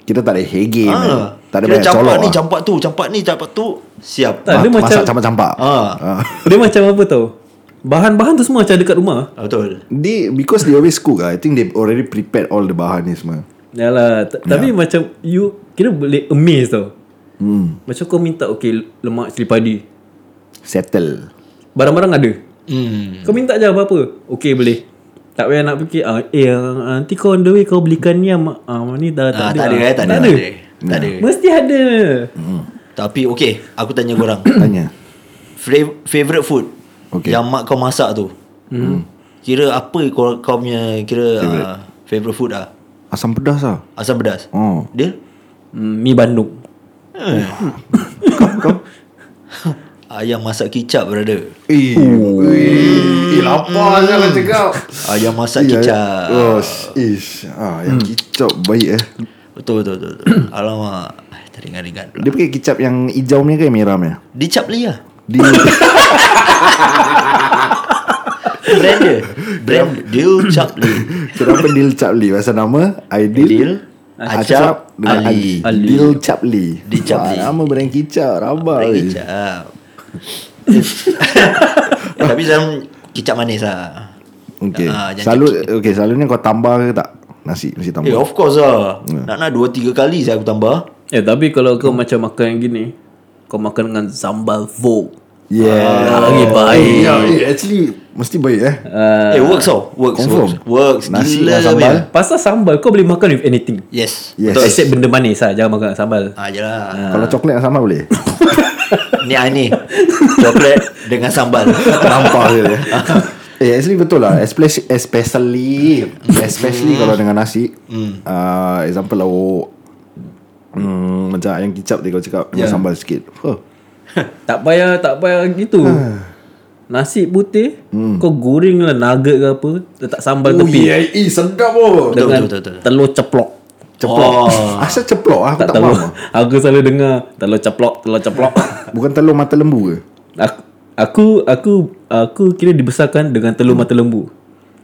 [SPEAKER 1] Kita tak ada hege man.
[SPEAKER 2] ha.
[SPEAKER 1] Tak ada
[SPEAKER 2] Kira
[SPEAKER 1] banyak
[SPEAKER 2] campak
[SPEAKER 1] colok
[SPEAKER 2] ni
[SPEAKER 1] lah
[SPEAKER 2] Campak tu Campak ni Campak tu Siap
[SPEAKER 3] Tak,
[SPEAKER 1] Ma-
[SPEAKER 3] dia macam
[SPEAKER 1] Masak campak-campak
[SPEAKER 2] Ah.
[SPEAKER 1] Ah.
[SPEAKER 3] dia macam apa tau? Bahan-bahan tu semua macam dekat rumah.
[SPEAKER 2] Ah, Betul
[SPEAKER 1] They Because they always cook lah I think they already prepared All the bahan ni semua
[SPEAKER 3] Ya. Yalah, t- tapi macam you kira boleh amaze tau. hmm. Macam kau minta Okay lemak cili padi
[SPEAKER 1] Settle
[SPEAKER 3] Barang-barang ada
[SPEAKER 2] Hmm.
[SPEAKER 3] Kau minta je apa-apa Okay boleh Tak payah nak fikir ah, Eh ah, nanti kau on the way Kau belikan ni ah, ah, Ni dah
[SPEAKER 2] Ah,
[SPEAKER 3] tak,
[SPEAKER 2] tak ada
[SPEAKER 3] ah.
[SPEAKER 2] eh, tak ada. Tak ada. Tak ada.
[SPEAKER 3] Mesti ada
[SPEAKER 2] Tapi okey, aku tanya korang.
[SPEAKER 1] Tanya
[SPEAKER 2] Fra- favorite food
[SPEAKER 1] Okey.
[SPEAKER 2] yang mak kau masak tu. Hmm. Kira apa kau, kau punya kira favorite, uh, favorite food ah?
[SPEAKER 1] Asam pedas lah
[SPEAKER 2] Asam pedas.
[SPEAKER 1] Oh
[SPEAKER 2] Dia?
[SPEAKER 3] hmm, Mi Bandung
[SPEAKER 2] Ayam masak kicap brother.
[SPEAKER 1] Eh, eh, eh lapar je lah cakap
[SPEAKER 2] Ayam masak
[SPEAKER 1] Eh,
[SPEAKER 2] kicap.
[SPEAKER 1] Oh, s- ish ah, Yang kicap baik eh
[SPEAKER 2] Betul betul betul. betul. Alamak. Ay, Teringat-ingat pula.
[SPEAKER 1] Dia pakai kicap yang hijau ni ke yang merah ni?
[SPEAKER 2] Dicap lagi lah.
[SPEAKER 1] Dia
[SPEAKER 2] Brand dia. Brand Dil Chapli.
[SPEAKER 1] Kenapa Dil Chapli Pasal nama Aidil
[SPEAKER 2] Dil Ah,
[SPEAKER 1] Acap dengan Ali.
[SPEAKER 3] Ali.
[SPEAKER 1] Dil Chapli
[SPEAKER 2] Dil Chapli.
[SPEAKER 1] Wah, Nama brand kicap Rabak
[SPEAKER 2] Brand
[SPEAKER 1] weh.
[SPEAKER 2] kicap. Tapi dalam kicap manis lah.
[SPEAKER 1] Okay
[SPEAKER 2] Ah, jangan
[SPEAKER 1] Selalu Okay selalunya kau tambah ke tak Nasi Mesti tambah
[SPEAKER 2] Eh of course lah Nak nak dua tiga kali saya aku tambah
[SPEAKER 3] Eh tapi kalau kau macam makan yang gini Kau makan dengan sambal vo
[SPEAKER 1] Yeah
[SPEAKER 2] ah,
[SPEAKER 3] Lagi baik
[SPEAKER 1] Eh, yeah, eh, Actually Mesti baik eh
[SPEAKER 2] Eh works tau Works
[SPEAKER 1] Confirm.
[SPEAKER 2] Works, works.
[SPEAKER 1] Nasi
[SPEAKER 2] Gila
[SPEAKER 1] dengan sambal.
[SPEAKER 2] punya.
[SPEAKER 3] Pasal sambal Kau boleh makan with anything
[SPEAKER 2] Yes
[SPEAKER 1] Yes.
[SPEAKER 3] Betul Except benda manis lah Jangan makan dengan sambal
[SPEAKER 2] Ah je lah
[SPEAKER 1] Kalau coklat yang sama boleh
[SPEAKER 2] Ni ah ni Coklat dengan sambal
[SPEAKER 1] Nampak je dia. Eh actually betul lah Especially Especially, especially
[SPEAKER 2] Hmm.
[SPEAKER 1] kalau dengan nasi uh, Example lauk hmm, Macam ayam kicap tadi kau cakap
[SPEAKER 2] Ya.
[SPEAKER 1] Dengan sambal sikit huh.
[SPEAKER 3] Tak payah Tak payah gitu Nasi putih Kau goreng lah nugget ke apa Letak sambal tepi
[SPEAKER 1] Eh sedap oh
[SPEAKER 2] Betul,
[SPEAKER 3] Dengan
[SPEAKER 2] betul, betul, betul.
[SPEAKER 3] telur ceplok
[SPEAKER 1] Ceplok
[SPEAKER 2] Oh.
[SPEAKER 1] Asal ceplok Aku
[SPEAKER 3] Tak,
[SPEAKER 1] tak,
[SPEAKER 3] tahu
[SPEAKER 1] faham lah.
[SPEAKER 3] Aku selalu dengar Telur ceplok Telur ceplok
[SPEAKER 1] Bukan telur mata lembu ke
[SPEAKER 3] Aku Aku Aku Aku kira dibesarkan Dengan telur mata lembu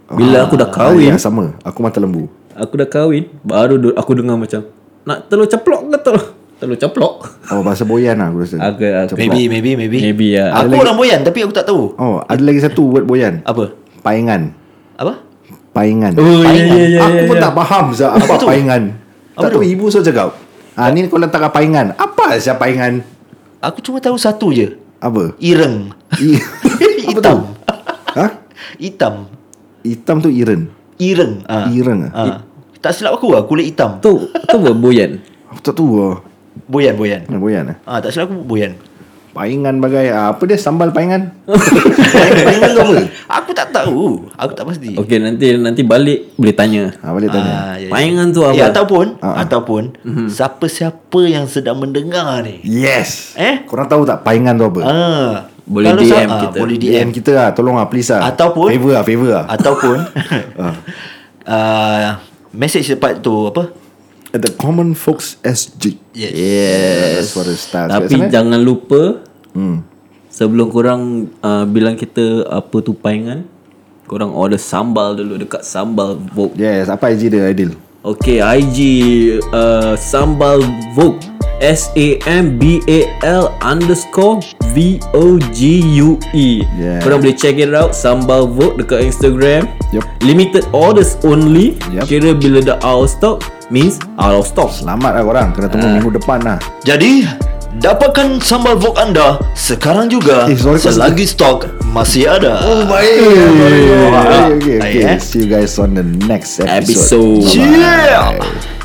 [SPEAKER 3] Bila aku dah
[SPEAKER 1] Ah, ya,
[SPEAKER 3] kahwin
[SPEAKER 1] sama Aku mata lembu
[SPEAKER 3] Aku dah kahwin Baru du- aku dengar macam Nak telur ceplok ke telur Telur ceplok
[SPEAKER 1] Oh bahasa boyan lah aku rasa
[SPEAKER 3] Aku, aku
[SPEAKER 2] Maybe maybe maybe
[SPEAKER 3] Maybe lah.
[SPEAKER 2] Aku orang boyan tapi aku tak tahu
[SPEAKER 1] Oh ada lagi satu word boyan
[SPEAKER 2] Apa
[SPEAKER 1] Paingan
[SPEAKER 2] Apa
[SPEAKER 1] Paingan
[SPEAKER 3] Oh ya ya ya
[SPEAKER 1] kan? aku
[SPEAKER 3] ya,
[SPEAKER 1] pun
[SPEAKER 3] ya.
[SPEAKER 1] tak faham Zah, apa,
[SPEAKER 2] tu?
[SPEAKER 1] paingan.
[SPEAKER 2] Apa
[SPEAKER 1] tak tahu
[SPEAKER 2] tu?
[SPEAKER 1] ibu saya cakap. Ah ni kau letak kat paingan. Apa siapa paingan?
[SPEAKER 2] Aku cuma tahu satu je
[SPEAKER 1] Apa?
[SPEAKER 2] Ireng
[SPEAKER 1] I- apa tu?
[SPEAKER 2] Hitam
[SPEAKER 1] Ha?
[SPEAKER 2] Hitam
[SPEAKER 1] Hitam tu iren.
[SPEAKER 2] Ireng ah.
[SPEAKER 1] Ireng ah?
[SPEAKER 2] ah. Tak silap aku lah Kulit hitam
[SPEAKER 3] Tu Tu apa boyan
[SPEAKER 1] Aku tak tahu. Oh.
[SPEAKER 2] Boyan boyan
[SPEAKER 1] Mana boyan eh?
[SPEAKER 2] Ah Tak silap aku boyan
[SPEAKER 1] Paingan bagai ah, apa dia sambal paingan? paingan tu apa?
[SPEAKER 2] Aku tak tahu Aku tak pasti
[SPEAKER 3] Okay nanti Nanti balik Boleh tanya
[SPEAKER 1] Ah balik tanya.
[SPEAKER 2] Ah, ya, ya.
[SPEAKER 3] Paingan tu
[SPEAKER 2] Eh,
[SPEAKER 3] apa? Ah. Mhm.
[SPEAKER 2] ataupun ataupun siapa-siapa yang sedang mendengar ni.
[SPEAKER 1] Yes.
[SPEAKER 2] Eh?
[SPEAKER 1] Korang tahu tak paingan tu apa?
[SPEAKER 2] Ah,
[SPEAKER 3] Boleh
[SPEAKER 2] kalau
[SPEAKER 3] DM
[SPEAKER 2] ah,
[SPEAKER 3] kita.
[SPEAKER 2] boleh DM
[SPEAKER 1] DM kita lah Tolong lah please lah
[SPEAKER 2] Ataupun-
[SPEAKER 1] Favor lah Favor lah
[SPEAKER 2] ataupun
[SPEAKER 3] Ah.
[SPEAKER 2] uh, message cepat tu apa?
[SPEAKER 1] At The Common Folks SG
[SPEAKER 2] Yes.
[SPEAKER 1] Yes Suara style
[SPEAKER 3] Tapi
[SPEAKER 1] sikit, sana.
[SPEAKER 3] jangan lupa
[SPEAKER 1] hmm.
[SPEAKER 3] Sebelum korang uh, Bilang kita Apa tu paingan Korang order sambal dulu Dekat sambal Vogue
[SPEAKER 1] Yes Apa IG dia Aidil?
[SPEAKER 3] Okay IG uh, Sambal Vogue S-A-M-B-A-L underscore V-O-G-U-E
[SPEAKER 1] Yeah.
[SPEAKER 3] E. Korang boleh check it out Sambal Vogue dekat Instagram
[SPEAKER 1] Yup.
[SPEAKER 3] Limited orders only
[SPEAKER 1] Yup.
[SPEAKER 3] Kira bila dah out of stock Means out of stock
[SPEAKER 1] Selamat lah korang Kena tunggu minggu depan lah
[SPEAKER 2] Jadi dapatkan sambal vok anda sekarang juga
[SPEAKER 1] Eh, sorry, kau-
[SPEAKER 2] selagi stok masih ada. Oh
[SPEAKER 1] Baik Okay okay, okay.
[SPEAKER 2] Baik, eh.
[SPEAKER 1] See you guys on the next episode
[SPEAKER 3] Episode
[SPEAKER 2] Yeah.
[SPEAKER 1] Bye.